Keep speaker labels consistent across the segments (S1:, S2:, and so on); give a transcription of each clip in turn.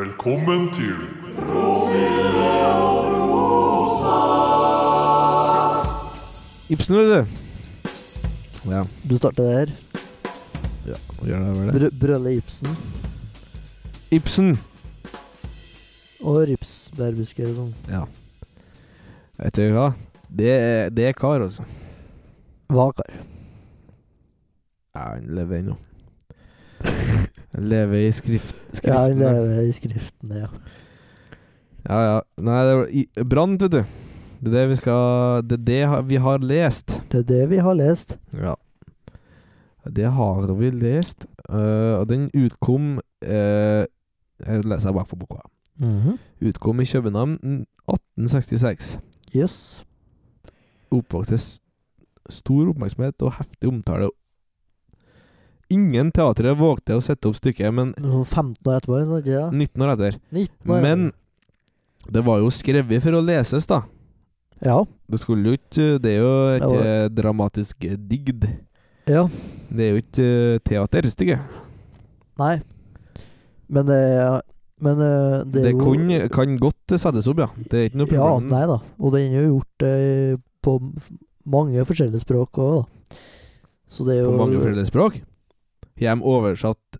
S1: Velkommen til
S2: Ibsen, vet du. Ja,
S3: Du starter der.
S2: gjør det vel det.
S3: Br Brølle Ibsen
S2: Ibsen.
S3: og ripsbærbusker og sånn.
S2: Ja. Vet du hva? Det, er- det er kar, altså.
S3: Vakar.
S2: Ja, han lever ennå. Han lever i skrift, skriften.
S3: Ja,
S2: Ja,
S3: han lever i skriftene, ja.
S2: ja, ja. Nei, det var i- Brant, vet du. Det er det vi skal Det er det ha- vi har lest.
S3: Det er det vi har lest.
S2: Ja. Det har vi lest, eh, og den utkom eh, Jeg leser bakpå boka. Mhm. Utkom i København 1866.
S3: Yes.
S2: oppvokst til s- stor oppmerksomhet og heftig omtale. Ingen teatre vågte å sette opp stykket, men
S3: Noe 15 år etterpå, ikke sant? Ja.
S2: 19 år etter.
S3: 19 år.
S2: Men det var jo skrevet for å leses, da.
S3: Ja.
S2: Det skulle jo ikke Det er jo
S3: Det
S2: ikke dramatisk digd.
S3: Ja.
S2: Det er jo ikke eh, teaterstykke.
S3: Nei. Men det er Men eh, det
S2: Det,
S3: er jo
S2: kunne- kan godt settes opp, ja. Det er ikke noe
S3: Ja,
S2: problem.
S3: nei da. Og den er jo gjort eh, på m- f- mange forskjellige språk òg, da. Så det er jo
S2: på mange flere språk. Jeg er oversatt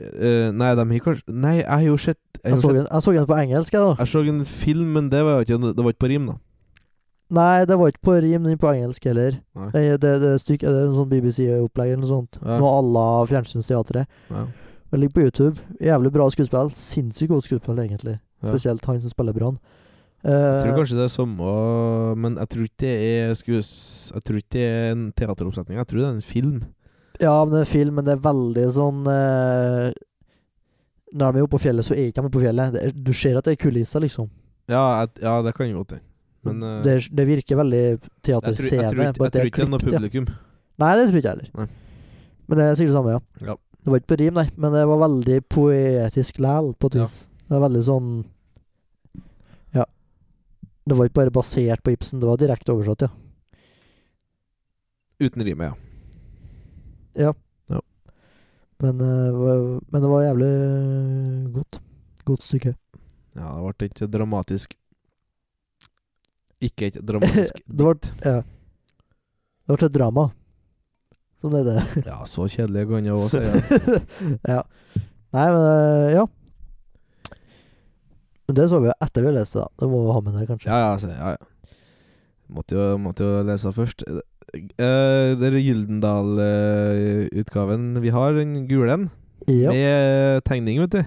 S2: eh, Nei, de har kanskje Nei, jeg har jo sett Jeg
S3: jeg
S2: har
S3: så,
S2: sett-
S3: den, jeg så den på engelsk, jeg, da.
S2: jeg så en film, men det var jo ikke, det var ikke på rim, da.
S3: Nei, det var ikke på rim, den på engelsk heller.
S2: Nei.
S3: Nei, det, det er stykk, det er en sånn BBC-opplegg eller noe sånt.
S2: Ja.
S3: Noe à la Fjernsynsteatret.
S2: Ja.
S3: Det ligger på YouTube. Jævlig bra skuespill. Sinnssykt godt skuespill, egentlig.
S2: Ja.
S3: Spesielt han som spiller Brann.
S2: Jeg tror
S3: Eh,
S2: kanskje det er samme, men jeg tror ikke det er skues... Jeg tror ikke det er en teateroppsetning, jeg tror det er en film.
S3: ja, men det er film, men det er veldig sånn eh, Når de er oppe på fjellet, så er ikke de oppe på fjellet. Det er, du ser at det er kulisser, liksom.
S2: Ja, jeg, ja det kan jo godt hende. Men eh,
S3: det, det virker veldig
S2: jeg, tror, jeg, tror,
S3: teater-CV.
S2: ikke- jeg tror ikke det er noe
S3: ja.
S2: publikum.
S3: Nei, det tror jeg ikke heller.
S2: Nei.
S3: Men det er sikkert det samme, ja.
S2: Ja.
S3: Det var ikke på rim, nei, men det var veldig poetisk læl, på et
S2: Ja.
S3: vis. Det var veldig sånn Ja. Det var ikke bare basert på Ibsen, det var direkte oversatt, ja.
S2: Uten rimet, ja.
S3: Men, eh, hva- men det var jævlig godt. Godt stykke.
S2: Ja, det ble ikke dramatisk Ikke et dramatisk
S3: Det ble, ja. det ble et drama. Sånn er det.
S2: Ja, så kjedelig kan jeg også si. Ja.
S3: ja. Nei, men eh, ja. Men det så vi jo etter vi leste, da. Det må vi ha med det, kanskje.
S2: Ja, ja, altså, ja, ja. Måtte jo, måtte jo lese først. Uh, det er Gyldendal-utgaven vi har, den gule en.
S3: Ja.
S2: med tegning, vet du.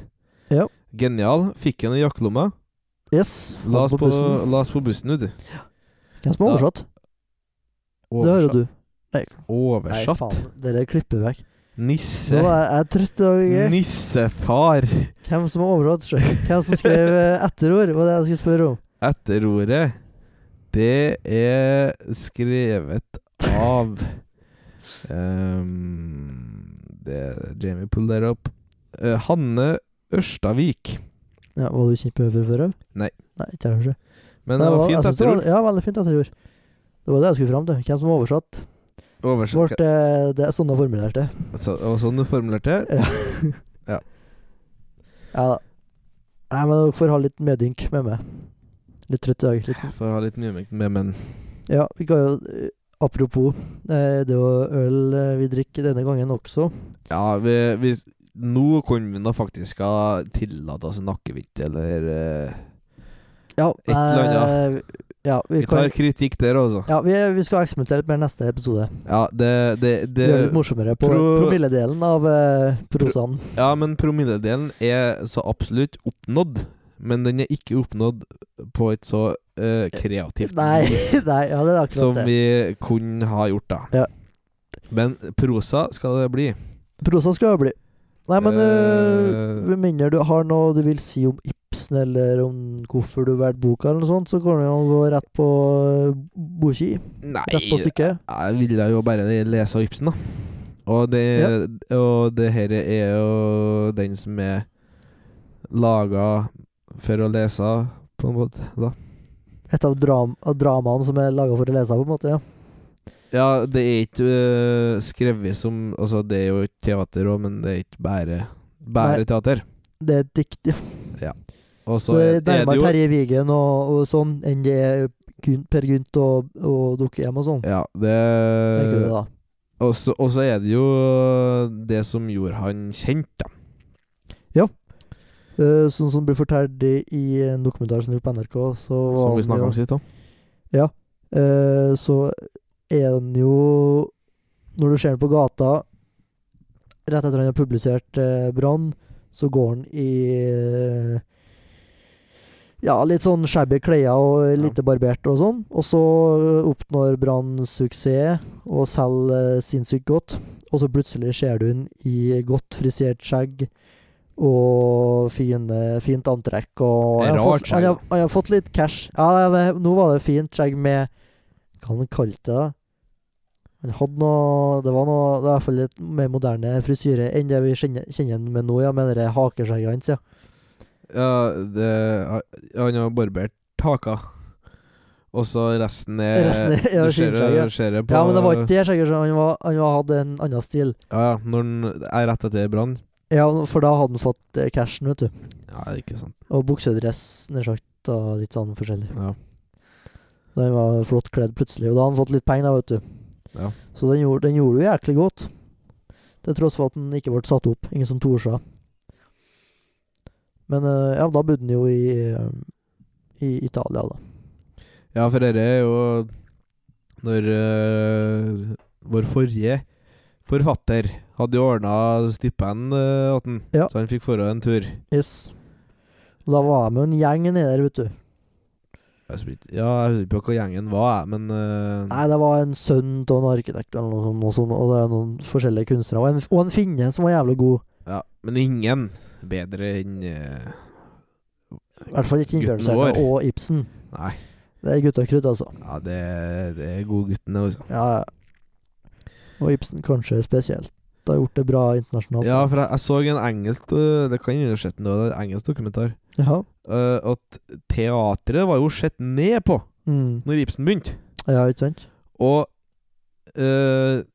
S3: Ja.
S2: Genial. Fikk den i jakkelomma.
S3: Yes.
S2: La
S3: han
S2: oss på,
S3: bussen.
S2: la oss på bussen, vet du.
S3: Hvem som har
S2: Ja,
S3: oversatt? Det hører du. Nei,
S2: Oversatt.
S3: faen. Dere klipper vekk. Nå
S2: Nisse.
S3: er jeg- jeg er trøtt. i dag, jeg.
S2: Nissefar.
S3: Hvem som har oversatt? sjø? Hvem som skrev eh, etterord? Var det jeg skulle spørre om.
S2: Etterordet, det er skrevet av ehm, Det er Jamie pull der opp. Eh, Hanne Ørstavik.
S3: Ja, var du kjent med henne fra før av?
S2: Nei.
S3: Nei, ikke jeg, kanskje.
S2: Men det var fint
S3: jeg synes det
S2: etterord.
S3: Var, ja, veldig fint etterord. Det var det jeg skulle fram til. Hvem som har oversatt?
S2: Oversatt.
S3: Vårt, eh, det er sånne formulerte.
S2: Så, det var sånn du formulerte det?
S3: Ja.
S2: Ja.
S3: ja da. Nei, men dere får ha litt medynk med meg. Litt trøtt i dag. Litt
S2: For å ha litt mye med, men
S3: Ja, vi kan jo eh, Apropos, eh, det er jo øl eh, vi drikker denne gangen også.
S2: Ja, vi, vi, nå kunne vi da faktisk ha tillatt oss en akevitt, eller eh,
S3: Ja,
S2: Et eller annet.
S3: eh, ja,
S2: Vi
S3: vi,
S2: tar
S3: kan,
S2: kritikk der, altså.
S3: ja vi, vi skal eksperimentere litt mer neste episode.
S2: Ja, det, det,
S3: Det,
S2: det
S3: Gjøre det litt morsommere på
S2: pro-
S3: promilledelen av eh, prosaen.
S2: Ja, men promilledelen er så absolutt oppnådd. Men den er ikke oppnådd på et så eh, kreativt
S3: Nei, nei, ja, det er
S2: som
S3: akkurat det.
S2: vi kunne ha gjort, da.
S3: Ja.
S2: Men prosa skal det bli.
S3: Prosaen skal jo bli. Nei, men
S2: Eh.
S3: uh, med mindre du har noe du vil si om Ibsen, eller om hvorfor du valgte boka, eller noe sånt, så kan du jo gå rett på eh, Boki.
S2: Nei,
S3: Rett på stykket.
S2: jeg ville jo bare lese av Ibsen, da. Og det, og det her er jo den som er laga for å lese, på en måte. da
S3: Et av, dram av dramaene som er laga for å lese, på en måte. ja
S2: Ja, det er ikke eh, øh, skrevet som Altså, det er jo et teater òg, men det er ikke bare Bare
S3: Nei.
S2: teater.
S3: Det er et dikt, ja.
S2: Og
S3: Så
S2: så er,
S3: det er
S2: er det
S3: nærmere
S2: jo
S3: Terje Vigen og, og sånn enn det er Gun- Per Gynt og, og Dukkehjem og sånn.
S2: Ja,
S3: tenker du
S2: det
S3: da.
S2: Og så og så er det jo eh, det som gjorde han kjent, da.
S3: Eh, sånn som blir fortalt i i en dokumentar som ligger på NRK, så var
S2: Som vi
S3: han
S2: snakka
S3: jo-
S2: om sist òg.
S3: Eh, så er han jo Når du ser han på gata rett etter han har publisert eh, 'Brann', så går han i eh, ja, litt sånn shabby klær og lite barbert og sånn. Og så eh, oppnår Brann suksess og selger eh, sinnssykt godt. Og så plutselig ser du han i godt frisert skjegg og fine, fint antrekk og
S2: Det er
S3: han har
S2: rart
S3: fått- han har-
S2: skjegg.
S3: Han har fått litt cash. Ja, det- nå var det fint skjegg med Hva han kalte det? da? Han hadde noe Det var noe Det er i hvert fall litt mer moderne frisyre enn det vi kjenner, kjenner han med nå, ja, med det hakeskjegget hans, ja.
S2: Ja, det- han har barbert haka. Og så resten er
S3: Resten er- ja,
S2: Du ser
S3: skinnskjegg, ja.
S2: det- ser det på
S3: Ja, men det var ikke det skjegget, så han, var, han var, hadde en annen stil.
S2: Ja, ja, når den er rett etter brann.
S3: Ja, for da hadde han fått eh, cashen, vet du.
S2: Ja, ikke sant.
S3: Og buksedress, nær sagt, og litt sånn forskjellig.
S2: Ja.
S3: Da Han var flott kledd plutselig, og da hadde han fått litt penger, da, vet du.
S2: Ja.
S3: Så den gjorde, den gjorde jo jæklig godt. Til tross for at den ikke ble satt opp. Ingen som torde seg. Men eh, ja, da bodde den jo i, eh, i Italia, da.
S2: ja, for dette er jo når eh, vår forrige forfatter hadde jo ordna stipend uh, åt den,
S3: Ja.
S2: så han fikk forhånd en tur.
S3: Yes. Og da var jeg med en gjeng nedi der, vet du.
S2: Jeg husker ikke- Ja, jeg husker ikke på hva gjengen var, jeg, men eh,
S3: Nei, det var en sønn av en arkitekt eller noe sånt, noe sånt, og det er noen forskjellige kunstnere. Og en, og en finne som var jævlig god.
S2: ja, Men ingen bedre enn eh,
S3: I hvert fall ikke
S2: Gutten
S3: Internettscenen
S2: vår.
S3: og Ibsen.
S2: Nei.
S3: Det er gutta krutt, altså.
S2: Ja, det, det er godgutten, det, altså.
S3: Ja, ja. Og Ibsen kanskje spesielt. Har gjort det bra internasjonalt.
S2: Ja, for jeg, jeg så en engelsk øh, Det kan jo skjedd noe, det er en engelsk dokumentar.
S3: Ja.
S2: øh, at teatret var jo sett ned på
S3: Mm.
S2: når Ibsen begynte.
S3: ja, ikke sant?
S2: Og øh,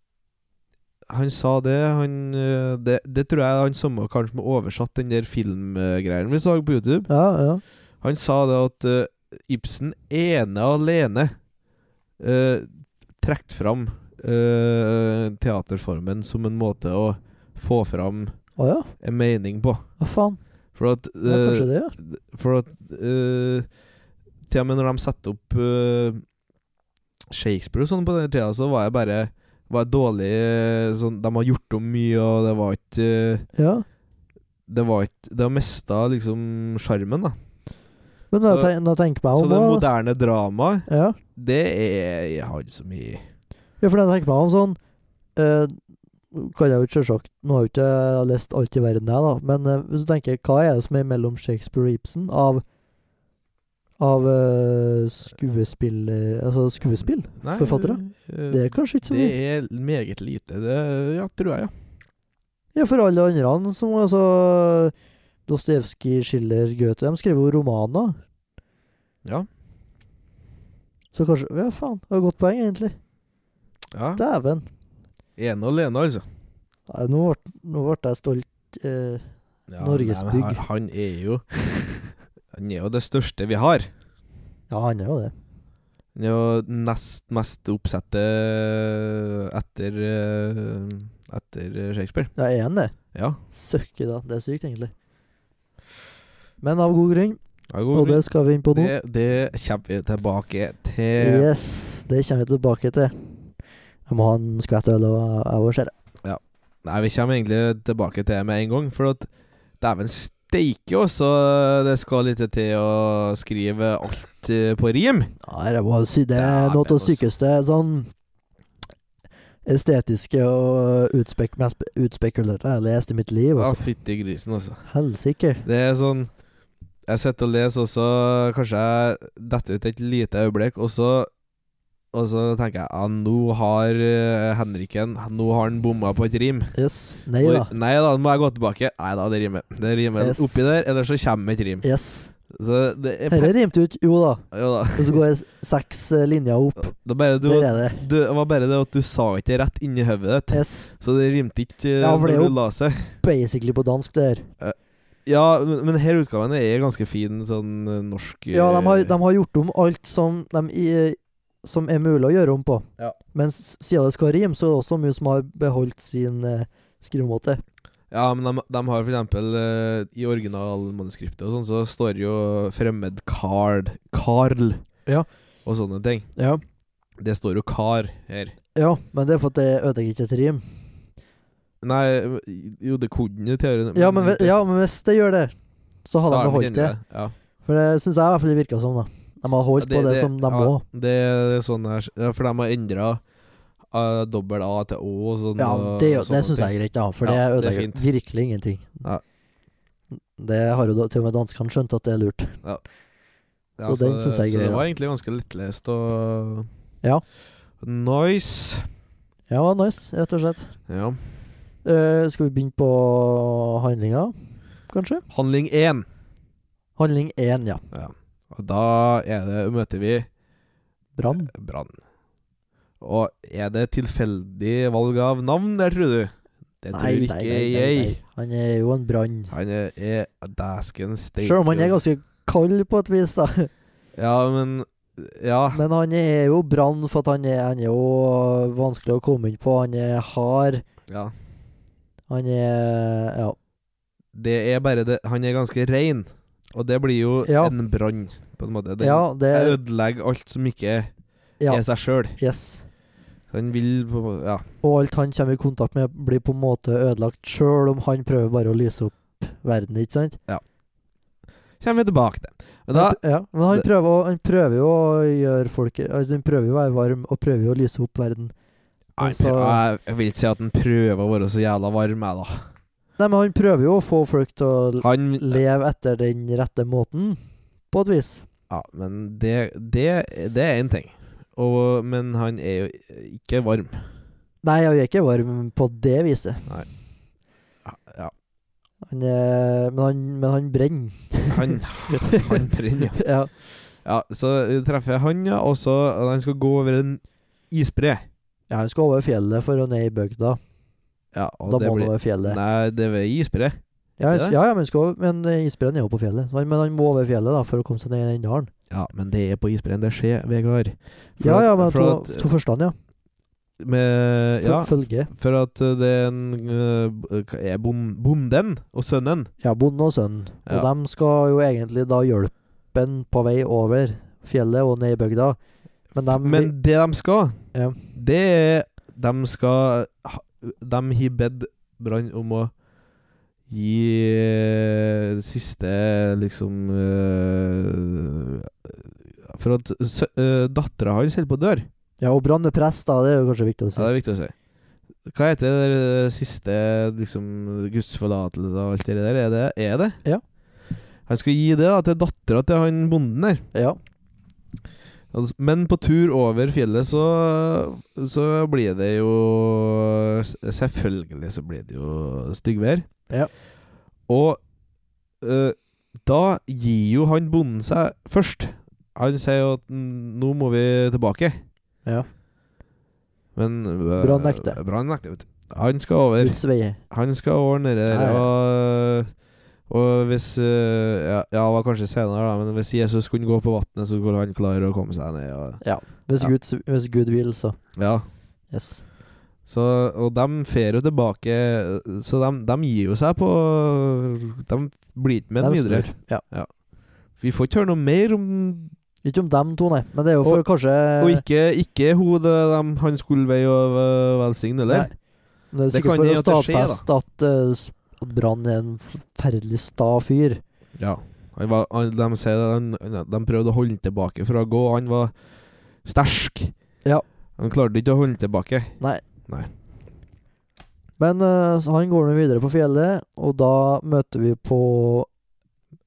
S2: han sa det han, øh, det, det tror jeg han samme kanskje må oversatt den der filmgreien vi så på YouTube.
S3: Ja, ja.
S2: Han sa det at øh, Ibsen ene og alene uh, trekt fram øh, teaterformen som en måte å få fram
S3: Å ja,
S2: en mening på.
S3: hva faen?
S2: For at
S3: Ja,
S2: øh,
S3: kanskje det, ja.
S2: For at eh, Til og med når de setter opp eh, Shakespeare og sånn på den tida, så var jeg bare Var jeg dårlig eh, sånn, De har gjort om mye, og det var ikke eh,
S3: ja.
S2: Det var ikke Det har mista liksom sjarmen, da.
S3: Men når
S2: Så-
S3: jeg tenker, når jeg tenker meg
S2: Så
S3: om
S2: det
S3: da-
S2: moderne dramaet,
S3: ja.
S2: det er Jeg har ikke så mye
S3: ja, for når jeg tenker meg om sånn eh, Kan jeg jo ikke selvsagt Nå har jeg jo ikke lest alt i verden, jeg, da. Men eh, hvis du tenker, hva er det som er mellom Shakespeare og Ibsen av av eh, skuespiller Altså skuespill?
S2: Nei,
S3: Forfattere?
S2: eh,
S3: Det er kanskje ikke så
S2: det
S3: mye?
S2: er meget lite. Det ja, tror jeg, ja.
S3: Ja, for alle andre som altså Dostojevskij, Schiller, Goethe De skriver jo romaner.
S2: Ja.
S3: Så kanskje Ja, faen. Det var et godt poeng, egentlig.
S2: ja.
S3: Dæven.
S2: Ene og alene, altså.
S3: Nei, Nå ble- nå ble jeg stolt. Eh,
S2: Ja,
S3: Norgesbygg.
S2: nei, men Han, han er jo Han er jo det største vi har.
S3: ja, han er jo det.
S2: Han er jo nest mest oppsette etter eh, Etter Shakespeare.
S3: Ja, er han det?
S2: Ja.
S3: Søkke, da. Det er sykt, egentlig. Men av god grunn,
S2: ja god
S3: og
S2: grunn.
S3: det skal vi inn på nå.
S2: det, det kommer vi tilbake til.
S3: Yes, det kommer vi tilbake til. Jeg må ha en skvett øl, og jeg- jeg òg, ser det.
S2: Nei, vi kommer egentlig tilbake til det med en gang, for at dæven steike også det skal litt til å skrive alt eh, på rim.
S3: Nei, det var sy det er
S2: Dæven,
S3: noe av det
S2: altså.
S3: sykeste sånn estetiske og utspek mest utspekulerte jeg har lest i mitt liv.
S2: Ja,
S3: Altså.
S2: fytti grisen, altså.
S3: Helsike.
S2: Det er sånn Jeg sitter og leser, og så kanskje jeg detter ut et lite øyeblikk, og så og så tenker jeg ja, nå har eh, Henriken Nå har han bomma på et rim.
S3: Yes. Nei
S2: Oi,
S3: da.
S2: Nei da, nå må jeg gå tilbake. Nei da, det rimer. Det rimer
S3: Yes.
S2: oppi der, eller så kommer et rim.
S3: Yes.
S2: Så det er
S3: Dette rimte ut. Jo da.
S2: pe- Jo da.
S3: Og så går jeg s- seks eh, linjer opp.
S2: Det, er bare, du,
S3: Der er det.
S2: du, det var bare det at du sa ikke det rett inni hodet ditt,
S3: Yes.
S2: så det rimte ikke eh,
S3: Ja, for det er
S2: når
S3: jo-
S2: du la seg.
S3: Basically på dansk, det her.
S2: Ja, men, men her utgaven er ganske fin, sånn eh, norsk
S3: Ja, de har,
S2: eh,
S3: de har gjort om alt som, de, i- som er mulig å gjøre om på.
S2: Ja.
S3: Men s- siden det skal rime, så er det også mye som har beholdt sin eh, skrivemåte.
S2: Ja, men de, de har for eksempel eh, I originalmanuskriptet og sånn, så står det jo 'fremmed Carl'. Carl.
S3: Ja.
S2: Og sånne ting.
S3: Ja.
S2: Det står jo 'kar' her.
S3: ja, men det er for at det ødelegger ikke et rim.
S2: Nei, jo, det kunne jo teorien
S3: Ja men, ve- ja, men hvis det gjør det, så har
S2: så
S3: de
S2: er de
S3: beholdt
S2: inne i
S3: det.
S2: Ja.
S3: For det syns jeg i hvert fall det virka som, da. De har holdt
S2: Ja,
S3: på det, som de
S2: ja,
S3: må.
S2: Det er sånn her ja, For de har endra uh, dobbel A til Å og sånn.
S3: Ja,
S2: og-
S3: det,
S2: og sånne
S3: det syns jeg
S2: ting.
S3: er greit, da. For
S2: Ja, det er
S3: det ødelegger
S2: fint.
S3: virkelig ingenting.
S2: Ja.
S3: Det har jo da- til og med danskene skjønt at det er lurt. så den
S2: det-
S3: synes jeg er
S2: Så det
S3: grei, da.
S2: var egentlig ganske lettlest og
S3: Ja.
S2: Nice.
S3: Ja, nice, rett og slett.
S2: Ja.
S3: Eh, skal vi begynne på handlinga, kanskje?
S2: Handling én.
S3: Handling én, ja.
S2: Og da er det, møter vi
S3: Brann.
S2: Brann. Og er det tilfeldig valg av navn der, tror du? Det tror ikke jeg.
S3: Han er jo en brann.
S2: Han er, er dæsken steike.
S3: Sjøl om han er ganske kald på et vis, da.
S2: Ja, men Ja.
S3: Men han er jo brann for at han er, han er jo vanskelig å komme inn på. Han er hard.
S2: ja.
S3: Han er Ja.
S2: Det er bare det Han er ganske rein, og det blir jo
S3: Ja.
S2: en brann, på en måte. Den
S3: ja det
S2: ødelegger alt som ikke
S3: Ja.
S2: er seg sjøl.
S3: Yes.
S2: Han vil på en måte Ja.
S3: Og alt han kommer i kontakt med, blir på en måte ødelagt, sjøl om han prøver bare å lyse opp verden, ikke sant?
S2: Kommer vi tilbake til. Men da
S3: han, pr- ja, men han
S2: det-
S3: prøver, å- han prøver jo å gjøre folk altså Han prøver jo å være varm, og prøver jo å lyse opp verden.
S2: Nei,
S3: altså-
S2: jeg- Jeg vil ikke si at han prøver å være så jævla varm, jeg, da.
S3: Nei, men han prøver jo å få folk til å l-
S2: Han
S3: leve etter den rette måten, på et vis.
S2: Ja, men det, det, det er én ting. Og, men han er jo ikke varm.
S3: Nei, han er ikke varm på det viset.
S2: Ja,
S3: Han er, men, han, men han brenner.
S2: han, han brenner, ja.
S3: ja.
S2: ja. Så treffer jeg han, ja, og så og han skal gå over en isbre.
S3: ja, han skal over fjellet for å ned i bygda.
S2: Ja, og
S3: Da
S2: det
S3: må han
S2: blir
S3: over fjellet.
S2: Nei, det er isbre. Ikke
S3: Ja, han,
S2: det?
S3: ja, ja, men, skal, men eh, isbreen er jo på fjellet. Men, men han må over fjellet da for å komme seg ned i den dalen.
S2: Ja, men det er på isbreen det skjer, Vegard. For
S3: Ja,
S2: at-
S3: ja, men
S2: for
S3: to,
S2: at-
S3: to forstand, ja.
S2: Med,
S3: Føl-
S2: ja,
S3: Følge.
S2: for at uh, det er en uh, b- hva er bom, bonden og sønnen
S3: Ja, bonde og sønn. Og
S2: Ja.
S3: de skal jo egentlig da hjelpe han på vei over fjellet og ned i bygda. Men de
S2: Men det de skal,
S3: Ja.
S2: det er De skal ha- De har bedt Brann om å gi eh, siste liksom eh, For at sø- eh, dattera hans holder på å dø.
S3: Ja, og brann er prest, da. Det er jo kanskje viktig å
S2: Ja,
S3: si.
S2: det er viktig å si. Hva heter det der eh, siste liksom, gudsforlatelse og alt det der? Er det? Er det?
S3: Ja.
S2: Han skal gi det da, til dattera til han bonden der.
S3: Ja.
S2: Altså, Men på tur over fjellet så, så blir det jo Selvfølgelig så blir det jo styggvær.
S3: Ja.
S2: Og eh, da gir jo han bonden seg først. Han sier jo at "N- nå må vi tilbake.
S3: Ja.
S2: Men eh,
S3: Brann nekter.
S2: Brann nekter, vet du. Han skal over.
S3: Guds veier.
S2: Han skal ordne det
S3: Ja, ja.
S2: og, og hvis eh, ja, ja, det var kanskje senere, da, men hvis Jesus kunne gå på vannet, så skulle han klare å komme seg ned. Og,
S3: Hvis,
S2: Ja.
S3: Guds, hvis Gud vil, så.
S2: ja.
S3: Yes.
S2: så, og de fer jo tilbake Så de, de gir jo seg på De blir ikke med den
S3: Dem
S2: videre.
S3: snur. Ja.
S2: Vi får ikke høre noe mer om
S3: Ikke om dem to, nei. Men det er jo for
S2: Og-
S3: kanskje
S2: Og ikke, ikke hodet dem han skulle vei og eh, velsigne, eller?
S3: Nei. Men det er
S2: Det
S3: sikkert
S2: kan
S3: for
S2: jo
S3: å
S2: at det skjer,
S3: stadfeste at eh, s- at Brann er en forferdelig sta fyr.
S2: Ja. Han var, han, de, sier at han, de prøvde å holde han tilbake fra å gå. Han var sterk.
S3: Ja.
S2: Han klarte ikke å holde han tilbake.
S3: Men eh, så han går nå videre på fjellet, og da møter vi på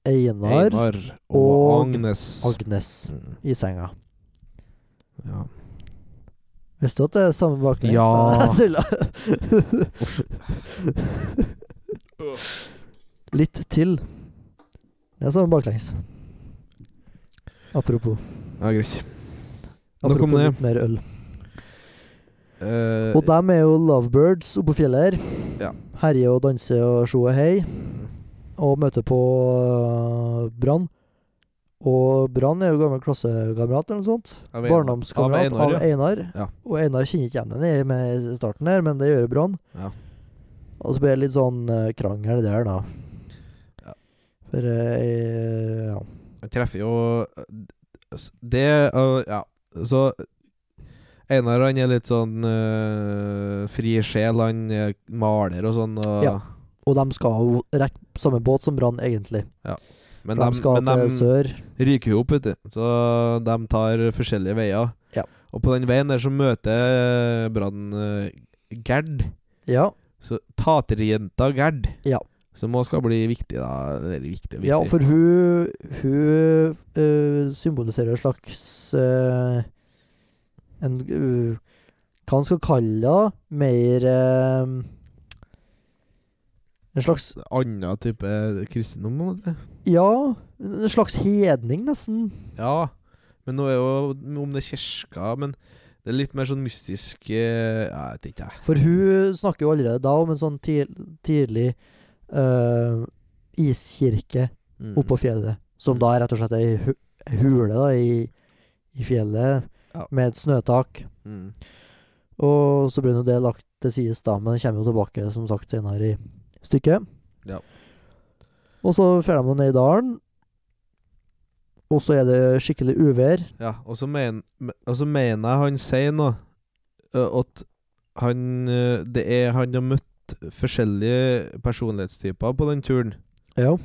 S3: Einar,
S2: Einar og,
S3: og
S2: Agnes.
S3: Agnes
S2: Mm,
S3: i senga.
S2: ja.
S3: Visste du at det er samme baklengs?
S2: Ja.
S3: Nei, jeg tulla. Litt til. Det er samme baklengs. Apropos.
S2: ja, greit. Nok om
S3: Apropos
S2: det.
S3: litt mer øl.
S2: Eh,
S3: Og dem er jo lovebirds oppå fjellet her.
S2: Ja. Mm.
S3: Herjer og danser og sjoer hei. og møter på øh, Brann. Og Brann er jo gammel klassekamerat eller noe sånt.
S2: Av Einar- av
S3: Barndomskamerat
S2: Einar,
S3: av
S2: ja.
S3: Einar.
S2: Ja.
S3: Og Einar kjenner ikke igjen henne i- med i starten her, men det gjør Brann.
S2: Ja.
S3: Og så blir det litt sånn eh, krangel der, da.
S2: Ja.
S3: For eh, ja.
S2: Han treffer jo eh, Det øh, Ja, så Einar han er litt sånn øh, fri sjel. Han er maler og sånn. Og,
S3: Ja. Og de skal jo rekke samme båt som Brann, egentlig.
S2: Men
S3: For
S2: de,
S3: de skal
S2: men
S3: til
S2: de
S3: sør.
S2: ryker jo opp, vet du. Så de tar forskjellige veier.
S3: Ja.
S2: Og på den veien der så møter Brann øh, Gerd.
S3: Ja.
S2: Så taterjenta Gerd.
S3: Ja.
S2: Som også skal bli viktig, da. Eller viktig, viktig.
S3: ja, for hun, hun eh, symboliserer en slags eh, En eh, Hva man skal kalle det? Mer eh, En slags
S2: Annen type kristendom, på en måte.
S3: Ja, en slags hedning, nesten.
S2: Ja, men nå er jo om det er kirka Men det er litt mer sånn mystisk eh, ja, Jeg vet ikke, jeg.
S3: For hun snakker jo allerede da om en sånn ti- tidlig eh, iskirke
S2: Mm.
S3: oppå fjellet. Som da er rett og slett ei hu ei hule da, i, i fjellet
S2: Ja.
S3: med et snøtak.
S2: Mm.
S3: Og så blir nå det lagt til sides, da, men det kommer jo tilbake som sagt senere i stykket.
S2: Ja.
S3: Og så drar de ned i dalen, og så er det skikkelig uvær.
S2: Ja, og så men- me- og så mener jeg han sier noe eh, At han eh, Det er han har møtt forskjellige personlighetstyper på den turen
S3: Ja.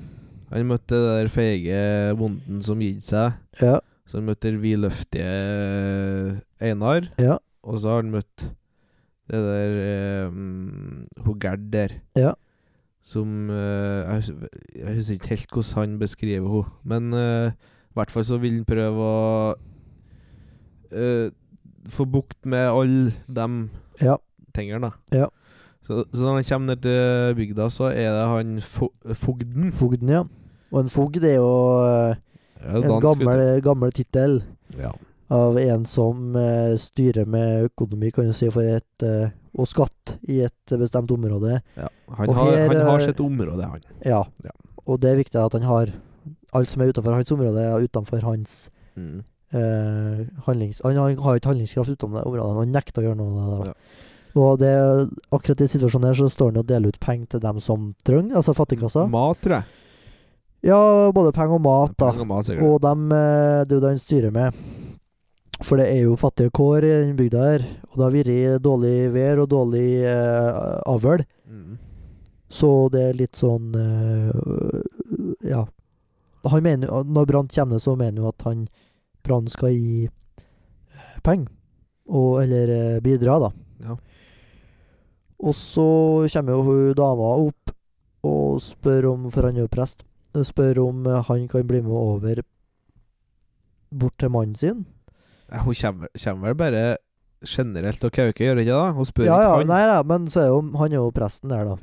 S2: Han møtte det der feige bonden som gitt seg
S3: ja.
S2: Så han møtte vi løftige eh, Einar
S3: Ja.
S2: Og så har han møtt det der eh, mm, Hun Gerd der.
S3: Ja.
S2: Som eh, jeg, husker, jeg husker ikke helt hvordan han beskriver henne, men eh, i hvert fall så vil han prøve å eh, få bukt med alle de
S3: Ja.
S2: tingene, da.
S3: Ja.
S2: Så, så når han kommer ned til bygda, så er det han fo fogden.
S3: Fogden, ja. Og en fogd er jo eh,
S2: Ja,
S3: En
S2: dansk,
S3: gammel,
S2: vet
S3: gammel tittel
S2: du. Ja.
S3: av en som eh, styrer med økonomi, kan du si, for et, eh, og skatt i et bestemt område.
S2: Ja. Han,
S3: Og
S2: har,
S3: her,
S2: han har
S3: eh,
S2: sitt område, han.
S3: Ja.
S2: Ja.
S3: Og det er viktig at han har alt som er utenfor hans område, er utenfor hans
S2: Mm.
S3: eh, handlings... Han har, har ikke handlingskraft utenom det området, han nekter å gjøre noe. av det
S2: Ja.
S3: Da. Og det, akkurat i situasjonen her så står han og deler ut penger til dem som trenger, altså fattigkassa.
S2: Mat, tror jeg.
S3: Ja, både penger og mat, da.
S2: Penger og Mat, sikkert.
S3: Og dem, eh, det er jo det han styrer med. For det er jo fattige kår i den bygda her. Og det har vært dårlig vær og dårlig eh, avl.
S2: Mm.
S3: Så det er litt sånn eh, Ja. Han mener, jo- når Brann kommer, ned, så mener han at han Brann skal gi eh, penger. Og Eller eh, bidra, da.
S2: Ja.
S3: Og så kommer jo hun dama opp og spør om For han er jo prest. Spør om eh, han kan bli med over bort til mannen sin.
S2: Ja, Hun kommer, kommer vel bare generelt og kauker, gjør hun ikke det? da? Hun spør
S3: Ja, ja,
S2: ikke han.
S3: nei, nei, men så er jo, han er jo presten der, da.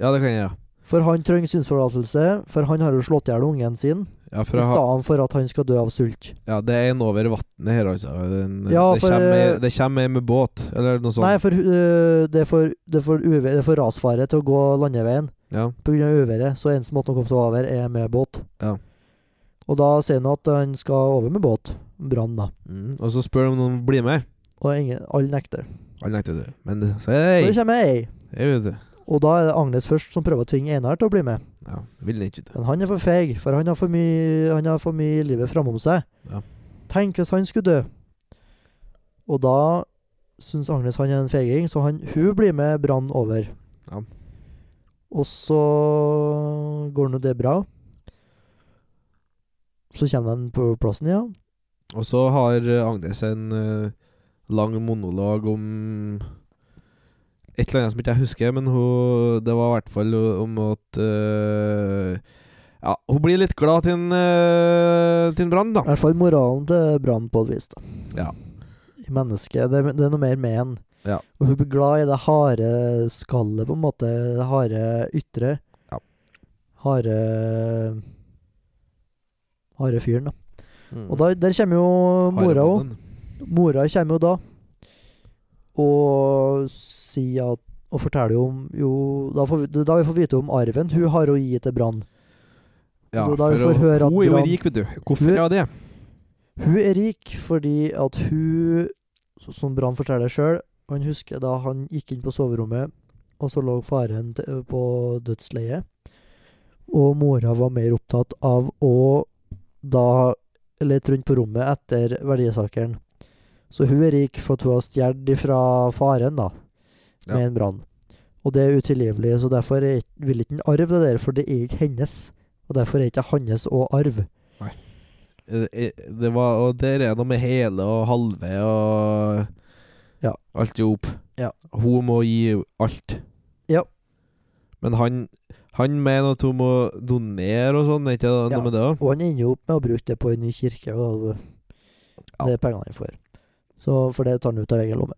S2: Ja, det kan jeg, ja.
S3: For han trenger synsforlatelse, for han har jo slått i hjel ungen sin.
S2: Ja, for
S3: I
S2: jeg har-
S3: stedet for at han skal dø av sult.
S2: ja, det er en over vannet her, altså. Den,
S3: Ja,
S2: det,
S3: for,
S2: kommer, ei-
S3: eh,
S2: det kommer ei med båt, eller noe sånt.
S3: Nei, for, øh, det er for, det er for, uvær- det er for rasfare til å gå landeveien
S2: Ja.
S3: pga. uværet. Så eneste måten å komme seg over, er med båt.
S2: Ja.
S3: Og da sier han at han skal over med båt. Brann, da.
S2: Mm. Og så spør de om noen blir med.
S3: Og ingen, alle nekter.
S2: Han nekter det. Men det- så
S3: Så
S2: hei,
S3: det kommer ei.
S2: jeg vet det.
S3: Og da er det Agnes først som prøver å tvinge Einar til å bli med.
S2: Ja, vil han ikke det.
S3: Men han er for feig, for han har for mye, han har for mye livet framom seg.
S2: Ja.
S3: Tenk hvis han skulle dø. Og da syns Agnes han er en feiging, så han, hun blir med Brann over.
S2: Ja.
S3: Og så går nå det bra. Så kommer han på plassen, ja.
S2: Og så har eh, Agnes en eh, lang monolog om et eller annet som ikke jeg husker, men hun, det var i hvert fall om at eh, Ja, hun blir litt glad til en, eh, til en brann, da.
S3: I hvert fall moralen til Brann på et vis, da.
S2: Ja.
S3: I mennesket. Det, er- det er noe mer med han.
S2: Ja.
S3: Og hun blir glad i det harde skallet, på en måte. Det harde ytre.
S2: Ja.
S3: Harde Harde fyren, da.
S2: Mm.
S3: Og da, der kommer jo mora òg.
S2: Haremannen.
S3: Mora kommer jo da og sier at og forteller jo om jo, da, får vi, da vi får vite om arven hun har å gi til Brann.
S2: Ja,
S3: Jo, da
S2: for
S3: vi får
S2: å-
S3: høre at
S2: hun er jo
S3: Brann-
S2: rik, vet du. Hvorfor
S3: Hun-
S2: er hun det?
S3: Hun er rik fordi at hun, så- som Brann forteller sjøl, han husker da han gikk inn på soverommet, og så lå faren til- på dødsleiet. Og mora var mer opptatt av å da lete rundt på rommet etter verdisakeren. Så hun er rik for at hun har stjålet ifra faren, da, med
S2: Ja.
S3: en brann. Og det er utilgivelig, så derfor er, ikke- vil ikke han arve det der, for det er ikke hennes. Og derfor er ikke hans å arve.
S2: Eh, Det var, og der er noe med hele og halve og
S3: Ja.
S2: alt i hop.
S3: Ja.
S2: Hun må gi alt.
S3: Ja.
S2: Men han Han mener at hun må donere og sånn, er ikke det noe
S3: Ja.
S2: med det òg?
S3: Og han ender jo opp med å bruke det på en ny kirke. Og det,
S2: Ja.
S3: det er pengene han får. Så for det tar han ut av egen lomme.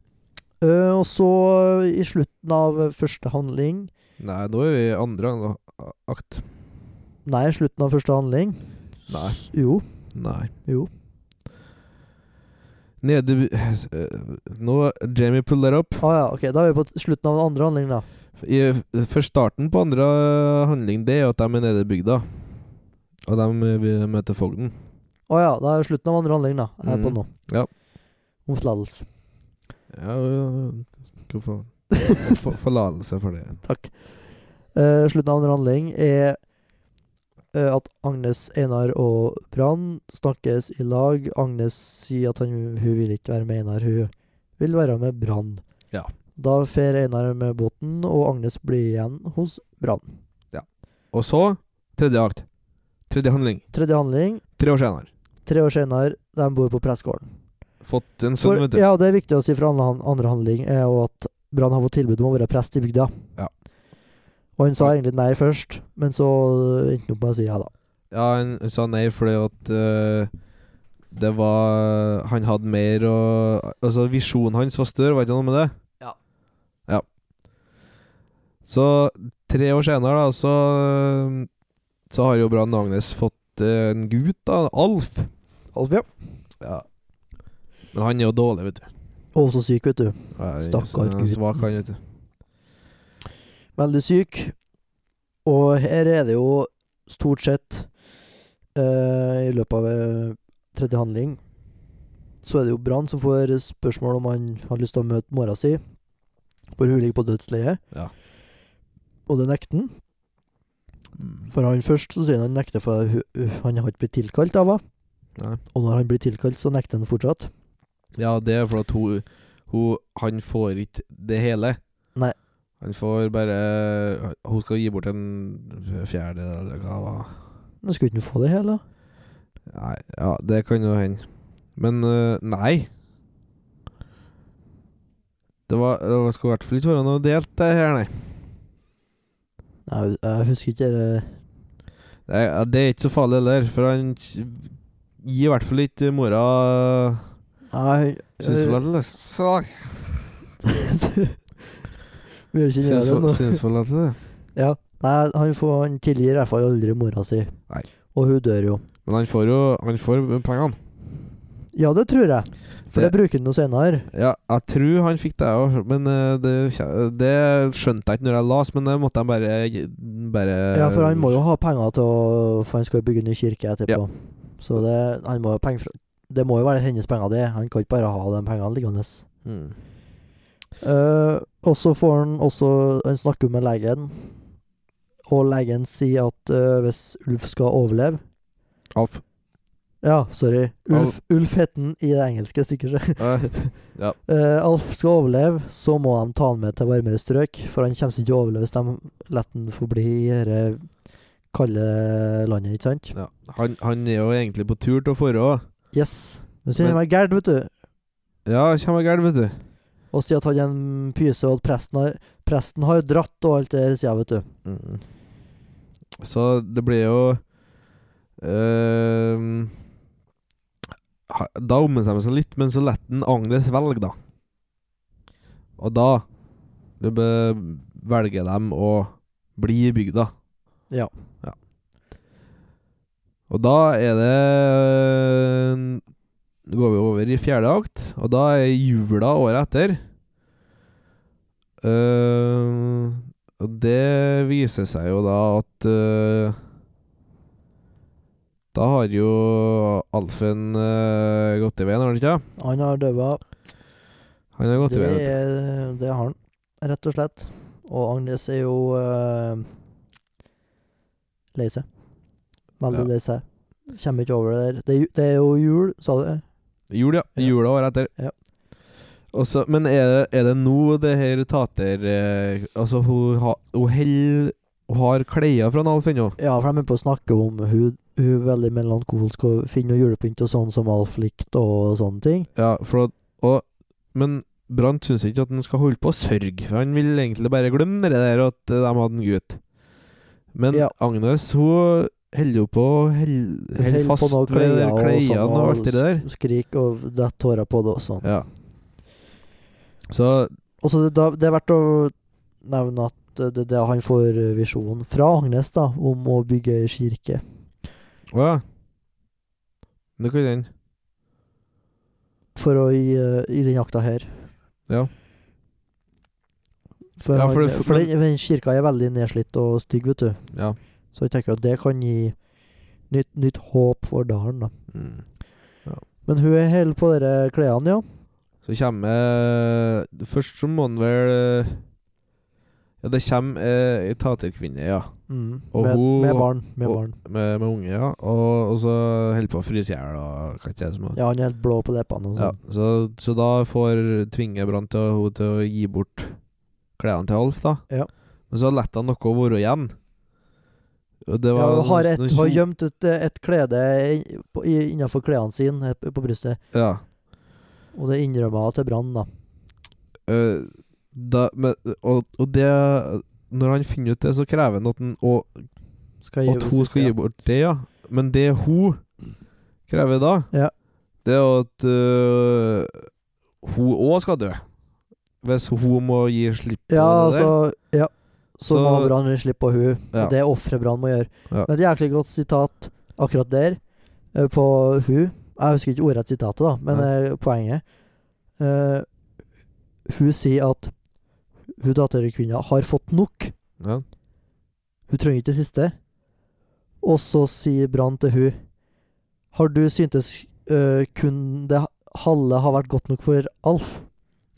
S3: Eh, og så, i slutten av første handling
S2: Nei, nå er vi i andre ang- akt.
S3: Nei, i slutten av første handling
S2: Nei.
S3: s- Jo.
S2: Nei.
S3: Jo.
S2: Nede eh, Nå Jamie puller opp.
S3: Ah, ja, ok, da er vi på t- slutten av den andre handling, da.
S2: I, for starten på andre handling, det er jo at de er nede i bygda. Og de vil møte fogden.
S3: Å Ah, ja, da er slutten av andre handling, da. Jeg er på
S2: Mm,
S3: nå.
S2: ja.
S3: Om tillatelse.
S2: Ja, skal få få- forlatelse for det.
S3: Takk. Eh, slutten av andre handling er eh, at Agnes, Einar og Brann snakkes i lag. Agnes sier at han, hun vil ikke være med Einar, hun vil være med Brann.
S2: Ja.
S3: Da fer Einar med båten, og Agnes blir igjen hos Brann.
S2: Og så tredje akt. Tredje handling.
S3: Tredje handling,
S2: Tre år senere.
S3: tre år senere, de bor på pressegården.
S2: Fått en sønn,
S3: For-
S2: vet du.
S3: Ja, det Sånn er viktig å si fra andre, andre handling, er jo at Brann har fått tilbud om å være prest i bygda.
S2: Ja.
S3: Og han sa egentlig nei først, men så endte han opp med å si ja, da.
S2: Ja, han sa nei fordi at eh, det var Han hadde mer og Altså, visjonen hans var større, var ikke noe med det?
S3: Ja.
S2: Ja. Så tre år senere, da, så Så har jo Brann Agnes fått eh, en gutt, da. Alf.
S3: Alf, ja.
S2: Ja. Men han er jo dårlig, vet du.
S3: Og så syk, vet du.
S2: Ja, han er
S3: Stakkar
S2: sånn, han er
S3: gutten.
S2: Svak, han, vet du.
S3: veldig syk. Og her er det jo stort sett eh, I løpet av eh, tredje handling så er det jo Brann som får spørsmål om han har lyst til å møte mora si, for hun ligger på dødsleiet.
S2: Ja.
S3: Og det nekter han. For han først så sier han han nekter for hu- hu- han har ikke blitt tilkalt av henne.
S2: Nei.
S3: Og når han blir tilkalt, så nekter han fortsatt.
S2: Ja, det er fordi at hun, hun Han får ikke det hele.
S3: Nei.
S2: Han får bare Hun skal gi bort en fjerde eller hva det var.
S3: Men skulle ikke han få det hele?
S2: Nei, ja, det kan jo hende. Men øh, nei. Det var Det skulle i hvert fall ikke være noe delt, det her, nei.
S3: Nei, jeg- jeg husker ikke det.
S2: Det er, det er ikke så farlig heller, for han k- gir i hvert fall ikke eh, mora
S3: Nei,
S2: Syns
S3: eh,
S2: sak.
S3: Vi gjør ikke det nå.
S2: Syns vel at det.
S3: Ja. Nei, han, får, han tilgir i hvert fall aldri mora si.
S2: Nei.
S3: Og hun dør jo.
S2: Men han får jo Han får pengene.
S3: Ja, det tror jeg. For det,
S2: Det-
S3: bruker han jo senere.
S2: Ja, jeg tror han fikk det òg, men eh, det, kje- det skjønte jeg ikke når jeg las, men det måtte jeg bare, bare
S3: Ja, for han må jo ha penger til å For han skal jo bygge ny kirke etterpå. Så det, han må jo ha penger fra Det må jo være hennes penger, det. Han kan ikke bare ha de pengene liggende.
S2: Mm.
S3: Eh, og så får han også Han snakker med legen, og legen sier at eh, hvis Ulf skal overleve
S2: Alf.
S3: Ja, sorry. Ulf, Ulf het han i det engelske stikkordet.
S2: Eh,
S3: Eh, Alf skal overleve, så må de ta han med til varmere strøk, for han kommer ikke til å overleve hvis de lar han forbli i dette kalde landet, ikke sant?
S2: ja. han, han er jo egentlig på tur til å forå.
S3: Yes. Men så kjenner
S2: Men-
S3: jeg Gerd, vet du.
S2: Ja, kommer gærent, vet du.
S3: Og sier at han er en pyse, og at presten har, presten har dratt og alt det der, sier jeg, vet du.
S2: Mm. Så det blir jo ehm, ha- Da ombestemmer seg litt, men så lar han Agnes velge, da. Og da det be- velger de å bli i bygda.
S3: Ja.
S2: Og da er det Nå går vi over i fjerde akt, og da er jula året etter. Eh, og det viser seg jo da at eh, Da har jo Alfen eh, gått i veien, har han ikke? det?
S3: Han har daua.
S2: Han har gått
S3: Det,
S2: i veien. vet
S3: er- det har han, rett og slett. Og Agnes er jo uh, lei seg. Veldig
S2: Ja.
S3: lei seg. Kommer ikke over det der. Det, er ju- det er jo jul, sa du?
S2: du. Jul, ja.
S3: Ja.
S2: Jula året etter.
S3: Ja.
S2: Og så- men er det, er det nå det her tater eh, Altså, hun, ha, hun holder Hun har klær fra Alf ennå.
S3: Ja, for de er på å snakke om hun, hun er veldig melankolsk og finner noe julepynt og sånn som Alf likte og sånne ting.
S2: Ja, for at, og, Men Brant syns ikke at han skal holde på å sørge, for han vil egentlig bare glemme det der at eh, de hadde en gutt. Men
S3: Ja.
S2: Agnes hun holder jo på å holde holde
S3: Holder på
S2: fast
S3: noe
S2: ved de der
S3: klær og
S2: klærne
S3: sånn,
S2: og,
S3: og
S2: alt det der.
S3: Skrik og detter tårer på det og sånn.
S2: Ja. Så
S3: Og så det, da- det er verdt å nevne at eh, det er det han får eh, visjonen fra Agnes da, om å bygge ei kirke.
S2: Å ja. Det kan den.
S3: For å i, eh, i den jakta her.
S2: Ja.
S3: For,
S2: Ja, for
S3: han,
S2: det- for
S3: for den, den kirka er veldig nedslitt og stygg, vet du.
S2: Ja.
S3: Så jeg tenker at det kan gi nytt, nytt håp for dalen, da.
S2: Mm.
S3: Men hun er helt på dere klærne, ja.
S2: Så kommer eh, Først så må han vel eh, Ja, det kommer ei taterkvinne, ja.
S3: Mm.
S2: Og
S3: med,
S2: hun-
S3: med barn. Med
S2: og-
S3: barn.
S2: Med, med unge, ja. Og, og så holder på å fryse i hjel og hva ikke jeg som har
S3: Ja, han er helt blå på leppene og
S2: Ja,
S3: sånn.
S2: så, så da får tvinge Brann til, å- hun til å gi bort klærne til Alf, da.
S3: Ja.
S2: Men så lette han noe å være igjen. Og det
S3: Ja,
S2: var sånn
S3: hun har, et,
S2: noen
S3: hun har
S2: kjol-
S3: gjemt et, et klede i- på- i- innenfor klærne sine eh, på brystet.
S2: ja.
S3: Og det innrømmer jeg til Brann, da.
S2: eh, da, men, og, og det Når han finner ut det, så krever han at, han, og,
S3: Skal
S2: at hun skal gi bort det, ja. Men det hun krever da,
S3: Ja.
S2: det er jo at øh, hun òg skal dø. Hvis hun må gi slipp på
S3: Ja,
S2: det der.
S3: altså Ja. Så,
S2: Så-
S3: må Brann slippe på hun
S2: Ja.
S3: Og det er offeret Brann må gjøre.
S2: Ja.
S3: Men et jæklig godt sitat akkurat der, eh, på hun Jeg husker ikke ordrett sitatet, da, men eh, poenget Eh, Hun sier at hun datterkvinna har fått nok.
S2: Ja.
S3: Hun trenger ikke det siste. Og så sier Brann til hun Har du syntes øh, kun det halve har vært godt nok for Alf?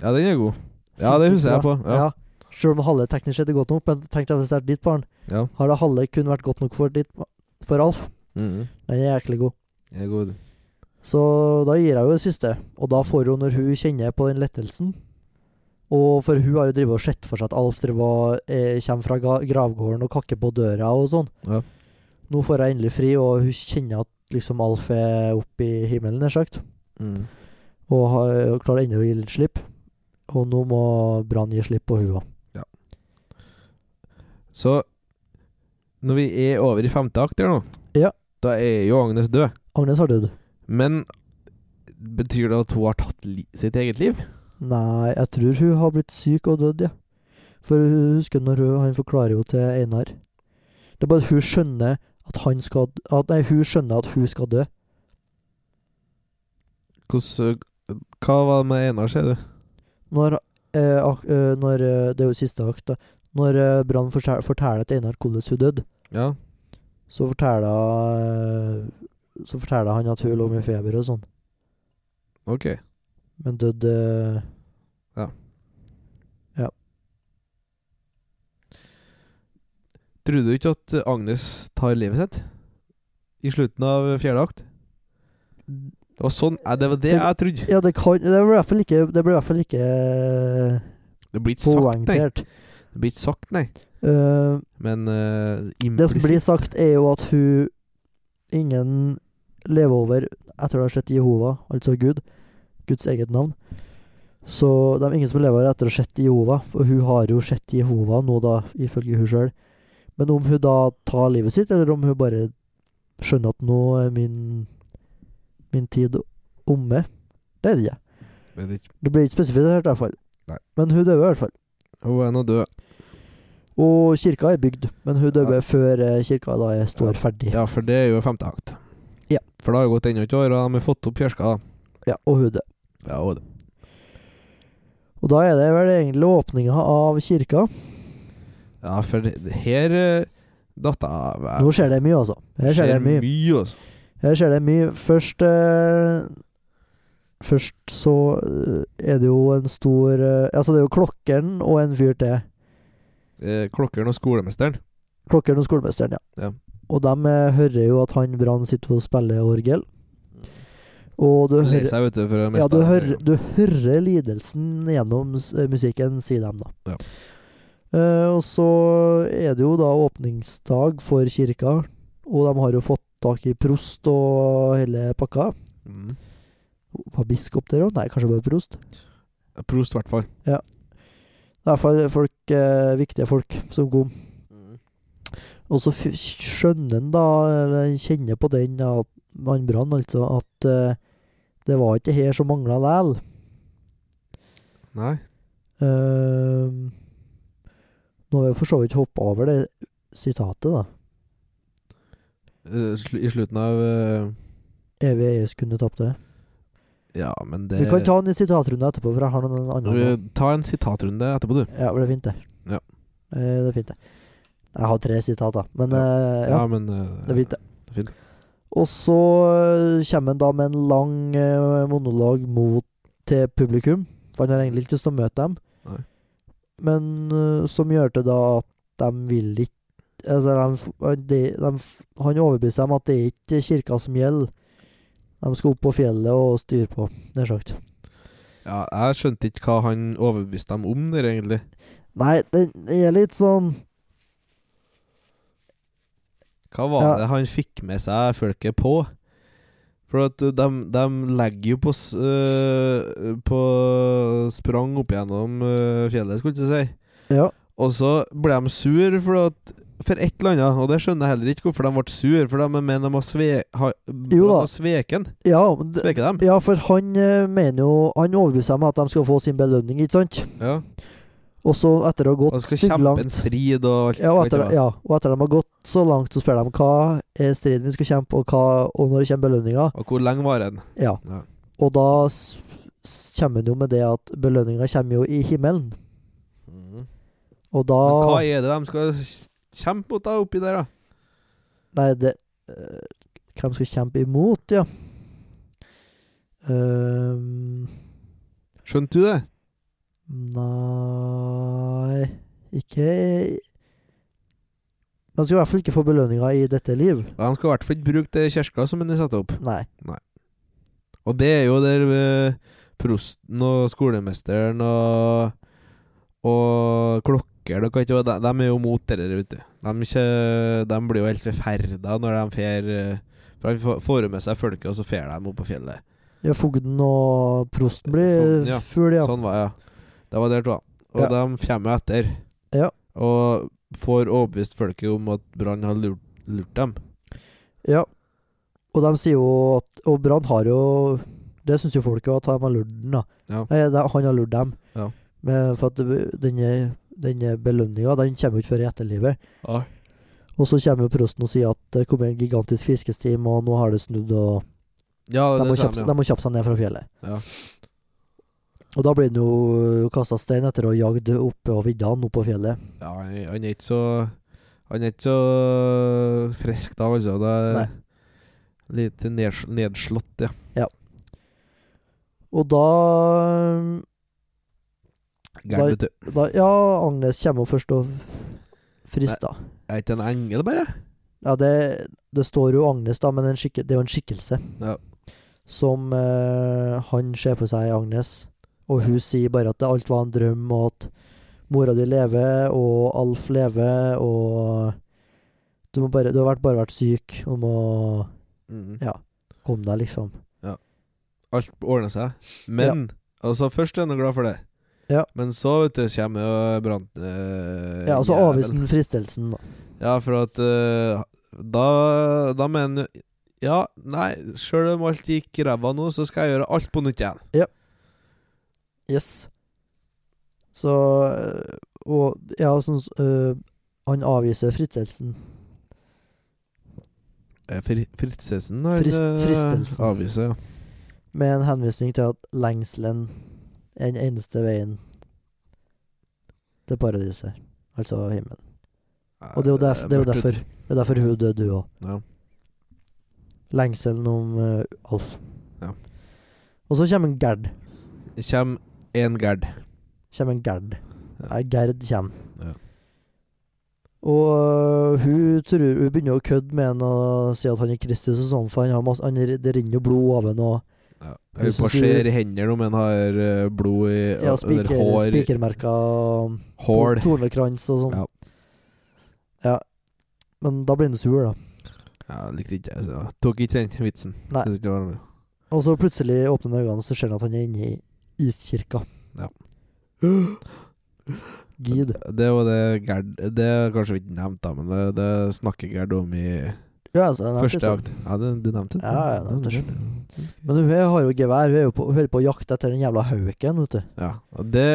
S2: ja, den er god. Ja, det husker jeg på. Ja.
S3: Ja. Selv om halve teknisk sett er godt nok, men tenk deg hvis det er ditt barn.
S2: Ja.
S3: Har det halve kun vært godt nok for, ditt, ba- for Alf? Den er jæklig god.
S2: Jeg Mm-hmm. er god.
S3: Så da gir jeg jo det siste. Og da får hun, når hun kjenner på den lettelsen Og for hun har jo drevet og sett for seg at Alf drev og, eh, kommer fra ga- gravgården og kakker på døra og sånn.
S2: Ja.
S3: Nå får jeg endelig fri, og hun kjenner at liksom Alf er oppe i himmelen, nær sagt.
S2: Mm-hmm.
S3: Og har, og klarer ennå å gi litt slipp. Og nå må Brann gi slipp på hun òg.
S2: Så når vi er over i femte akt her nå,
S3: Ja.
S2: da er jo Agnes død.
S3: Agnes har dødd.
S2: Men betyr det at hun har tatt li sitt eget liv?
S3: Nei, jeg tror hun har blitt syk og dødd, ja. For hun husker når hun, han forklarer jo til Einar Det er bare at hun skjønner at han skal at, Nei, hun skjønner at hun skal dø.
S2: Hvordan øh, Hva var det med Einar, sier du?
S3: Når, eh, ak, eh, når eh, Det er jo siste akt, da. Når eh, Brann fortel- forteller til Einar hvordan hun døde,
S2: Ja.
S3: så forteller eh, Så forteller han at hun lå med feber og sånn,
S2: Ok.
S3: men døde eh,
S2: Tror du ikke at eh, Agnes tar livet sitt? I slutten av eh, fjerde akt? Det var sånn Nei, Det var det
S3: Det-
S2: jeg trodde.
S3: Ja, det kan Det blir i hvert fall ikke Det blir i hvert fall ikke eh,
S2: Det blir ikke sagt, nei.
S3: poengtert.
S2: Det blir ikke sagt, nei.
S3: Eh,
S2: Men uh,
S3: Det som blir
S2: implisitt
S3: sagt, er jo at hun Ingen lever over etter å ha sett Jehova, altså Gud. Guds eget navn. Så det er ingen som lever over etter å ha sett Jehova, for hun har jo sett Jehova nå, da, ifølge hun sjøl. Men om hun da tar livet sitt, eller om hun bare skjønner at nå er min, min tid omme, det vet jeg ikke.
S2: Vet ikke.
S3: Det blir ikke spesifisert, i hvert fall.
S2: Nei.
S3: Men hun døde i hvert fall.
S2: Hun er nå død.
S3: Og kirka er bygd, men hun døde
S2: Ja.
S3: før eh, kirka da er- står ferdig.
S2: Ja, for det er jo femte akt.
S3: Ja.
S2: For det har jo gått ennå et år, og de har fått opp kjerka.
S3: Ja, og hun døde.
S2: Ja, og det.
S3: Og da er det vel egentlig åpninga av kirka.
S2: Ja, for det, det her eh, datt jeg av. eh,
S3: Nå skjer det mye, altså. Her skjer det mye.
S2: altså.
S3: Her skjer det mye. Først eh, Først så eh, er det jo en stor eh, Altså, det er jo klokkeren og en fyr til.
S2: Eh, klokkeren og skolemesteren.
S3: Klokkeren og skolemesteren, ja.
S2: Ja.
S3: Og de eh, hører jo at han Brann sitter og spiller orgel. Og du
S2: Lei
S3: hører
S2: seg, vet du, for det meste.
S3: Ja, du
S2: av det.
S3: hører, du hører lidelsen gjennom s- eh, musikken, sier de da.
S2: Ja.
S3: Eh, og så er det jo da åpningsdag for kirka, og de har jo fått tak i prost og hele pakka.
S2: Mm.
S3: Var biskop der òg? Nei, kanskje bare prost.
S2: Prost, i hvert fall.
S3: I hvert fall folk, eh, viktige folk som kom. Og så f skjønner han da, eller kjenner på den, at han brann altså, at eh, det var ikke her som mangla læl.
S2: Nei.
S3: Ehm, nå har vi for så vidt hoppa over det sitatet, da.
S2: Eh, sl I slutten av eh,
S3: Evig eies kunne tapt det.
S2: Ja, men det
S3: Vi kan ta den i sitatrunden etterpå, for jeg har noen andre. nå.
S2: Eh, Ta en sitatrunde etterpå, du.
S3: Ja, det er fint, det.
S2: Ja.
S3: Eh, det er fint, det. Jeg har tre sitater, men
S2: Ja.
S3: eh, ja,
S2: Ja, men eh,
S3: det er fint, det.
S2: det er fint.
S3: Og så eh, kommer han da med en lang eh, monolog mot, til publikum. For han har egentlig ikke lyst til å møte dem.
S2: Nei.
S3: Men eh, som gjør det da at de vil ikke altså de, f- de, de, f- Han overbeviser dem at det er ikke kirka som gjelder. De skal opp på fjellet og styre på, nær sagt.
S2: Ja, jeg skjønte ikke hva han overbeviste dem om der, egentlig.
S3: Nei, den er litt sånn
S2: Hva var
S3: Ja.
S2: det han fikk med seg folket på? For at de, legger jo på, s- øh, på sprang opp gjennom øh, fjellet, skulle jeg til å si.
S3: Ja.
S2: Og så ble de sur for, at, for et eller annet, og det skjønner jeg heller ikke hvorfor de ble sur, for de mener de har, sve, har, de
S3: da.
S2: har sveken.
S3: Ja, men det-
S2: Sveket dem.
S3: ja for han eh, mener jo Han overbeviser dem at de skal få sin belønning, ikke sant?
S2: Ja.
S3: Og så, etter å ha
S2: Og
S3: gått
S2: skal
S3: stygt
S2: kjempe
S3: langt
S2: en strid og alt.
S3: Ja og, etter,
S2: vet du hva.
S3: ja, og etter de har gått så langt, så spør de hva er striden vi skal kjempe, og, hva, og når kommer belønninga.
S2: Og hvor lenge var den?
S3: Ja.
S2: Ja.
S3: Og da s- s- kommer han jo med det at belønninga kommer jo i himmelen. Og da
S2: Men hva er det de skal kjempe mot da, oppi der, da?
S3: Nei, det øh, Hvem skal kjempe imot, ja. Ehm,
S2: Skjønte du det?
S3: nei Ikke Man skal i hvert fall ikke få belønninga i dette liv.
S2: Ja, De skal i hvert fall ikke bruke det kirka som den er satt opp.
S3: Nei.
S2: Og det er jo der eh, prosten og skolemesteren og Og klokker og hva ikke de, de er jo mot det der, vet du. De, kje- de blir jo helt forferda når de fer eh, For de får- får jo med seg folket, og så fer de opp på fjellet.
S3: Ja, fogden og prosten blir
S2: Fogden, ja.
S3: full, ja.
S2: Sånn var det, ja. Det var der, tror jeg. Og
S3: Ja.
S2: de kommer jo etter.
S3: Ja.
S2: Og får overbevist folket om at Brann har lurt, lurt dem.
S3: Ja. Og de sier jo at Og Brann har jo Det syns jo folket at han har lurt den, da.
S2: Ja.
S3: Nei, det, han har lurt dem.
S2: Ja.
S3: Men for at det- denne, denne belønninga, den kommer jo ikke før i etterlivet.
S2: Ja.
S3: Og så kommer jo prosten og sier at det kom en gigantisk fiskestim, og nå har det snudd, og
S2: Ja,
S3: de må,
S2: det
S3: kjappe, de
S2: kommer,
S3: må kjappe seg ned fra fjellet.
S2: ja. ja.
S3: Og da blir han jo kasta stein etter og jagd oppe og viddene opp på fjellet.
S2: Ja, han han er ikke så Han er ikke så frisk da, altså. Det er
S3: Nei.
S2: litt neds- nedslått, ja.
S3: Og da Da-
S2: Gæren, vet du.
S3: da, Ja, Agnes kommer jo først og frister.
S2: Jeg er ikke en engel, bare.
S3: Ja, det, det står jo Agnes, da, men en skikke, det er jo en skikkelse.
S2: Ja.
S3: Som eh, han ser for seg Agnes. Og hun sier bare at det alt var en drøm, og at mora di lever, og Alf lever, og du, må bare, du har vært, bare vært syk og må
S2: Mm.
S3: Ja. komme deg, liksom.
S2: Alt ordner seg. Men Altså, først er han glad for det.
S3: Ja.
S2: Men så, vet du, kommer jo brann... eh,
S3: Ja, Og så
S2: jævel.
S3: avviser han altså fristelsen, da.
S2: Ja, for at eh, Da Da mener han jo Ja, nei, sjøl om alt gikk ræva nå, så skal jeg gjøre alt på nytt igjen.
S3: Yes. Så eh, Og ja, sånn eh, Han avviser fristelsen.
S2: Eh, Fri Fritzesen har
S3: Frist-
S2: eh,
S3: fristelsen.
S2: avviser, ja.
S3: med en henvisning til at lengselen er den eneste veien til paradiset, altså himmelen. Og det er jo derf- det er jo
S2: mørkt
S3: derfor,
S2: ut.
S3: det er derfor hun døde, hun òg.
S2: Ja.
S3: Lengselen om eh, Alf.
S2: Ja.
S3: Og så kommer en Gerd.
S2: Det Kjem en Gerd.
S3: Kommer en Gerd.
S2: Ja.
S3: Nei, Gerd kommer.
S2: Ja.
S3: Og øh, hun, tror, hun begynner å kødde med han og si at han er Kristus og sånn, for han har masse, han, det renner jo blod av han og
S2: Ja.
S3: Jeg
S2: Jeg vil bare
S3: synes jo-
S2: ser i hendene om en har eh, blod i
S3: ja,
S2: eller
S3: spiker,
S2: hår,
S3: spikermerka
S2: hår.
S3: to- tornekrans og sånn.
S2: Ja.
S3: Ja. Men da blir han sur, da.
S2: Ja, jeg likte ikke det. så jeg Tok ikke den vitsen.
S3: Nei.
S2: Synes ikke det var noe.
S3: Og så plutselig åpner han øynene, og så ser han at han er inne i iskirka.
S2: Ja.
S3: Gid.
S2: Det var det Gerd Det har kanskje vi ikke nevnt, da, men det, det snakker Gerd om i
S3: Ja, altså, han er
S2: første
S3: ikke-
S2: akt. Ja, det, du nevnte det?
S3: Ja, jeg nevnte det.
S2: det.
S3: Men hun har jo gevær. Hun er jo på, hun holder på å jakte etter den jævla hauken, vet du.
S2: Ja, og det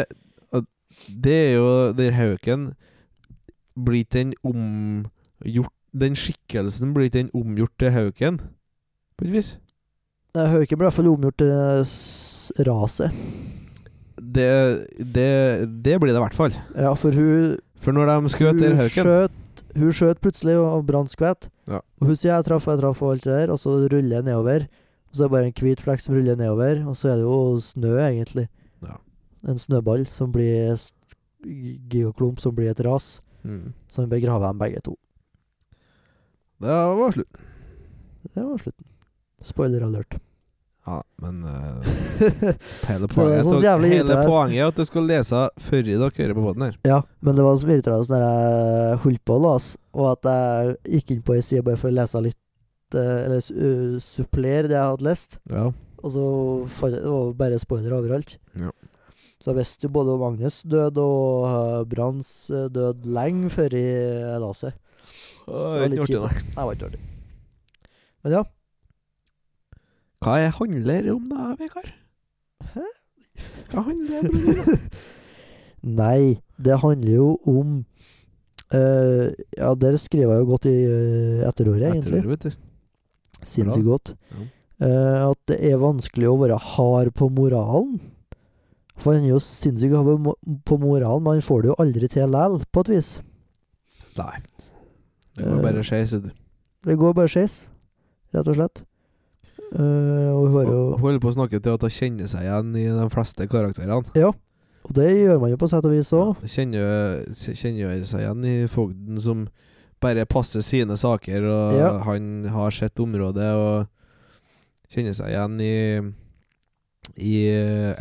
S2: og Det er jo Der hauken blir ikke den omgjort Den skikkelsen blir ikke den omgjort til hauken, på et vis.
S3: Nei, Hauken ble i hvert fall omgjort til eh, s- raset.
S2: Det, det, det blir det i hvert fall.
S3: Ja, for hun
S2: For når de skjøt der
S3: Hun
S2: hauken
S3: skjøt, hun skjøt plutselig, og og brann skvett.
S2: Ja.
S3: Og hun sier 'jeg traff, jeg traff', og alt det der, og så ruller jeg nedover. Og så er det bare en hvit flekk som ruller nedover, og så er det jo snø, egentlig.
S2: Ja.
S3: En snøball som blir s- Geoklump som blir et ras.
S2: mm.
S3: Så hun begraver dem begge to.
S2: Det var slutt.
S3: Det var slutten. Spoiler alert.
S2: Ja, men eh,
S3: det
S2: hele
S3: Det var
S2: poenget,
S3: så
S2: er at
S3: jævlig
S2: hele
S3: irriterende.
S2: poenget er at du skal lese før dere hører på båten her.
S3: Ja, men det var så irriterende når jeg holdt på å lese, og at jeg gikk inn på ei side bare for å lese litt eh, Eller su- eh, supplere det jeg hadde lest,
S2: Ja.
S3: og så fant jeg Det var jo bare spoilere overalt.
S2: Ja.
S3: Så jeg visste jo både om Agnes død og eh, Branns eh, død lenge før eh, jeg leste.
S2: Det
S3: litt kjipt.
S2: da.
S3: Nei, det var ikke artig. Men ja.
S2: Hva er handler om da, Vegard?
S3: Hæ?
S2: Hva handler det om?
S3: Nei, det handler jo om eh, Ja, der skriver jeg jo godt i eh, etterordet, egentlig.
S2: Etter, vet du.
S3: Sinnssykt godt.
S2: Ja.
S3: Eh, at det er vanskelig å være hard på moralen. For han er jo sinnssykt hard på mo- på moralen, men han får det jo aldri til likevel, på et vis.
S2: Nei. Det
S3: Eh,
S2: må bare skje, så du.
S3: Det går bare skeis, rett og slett. Eh, og, hun har
S2: Og
S3: jo,
S2: Hun holder på å snakke til at hun kjenner seg igjen i de fleste karakterene.
S3: og det gjør man jo på sett og vis òg.
S2: Hun Kjenner, kjenner jo seg igjen i fogden som bare passer sine saker, og
S3: Ja.
S2: han har sitt område, og kjenner seg igjen i I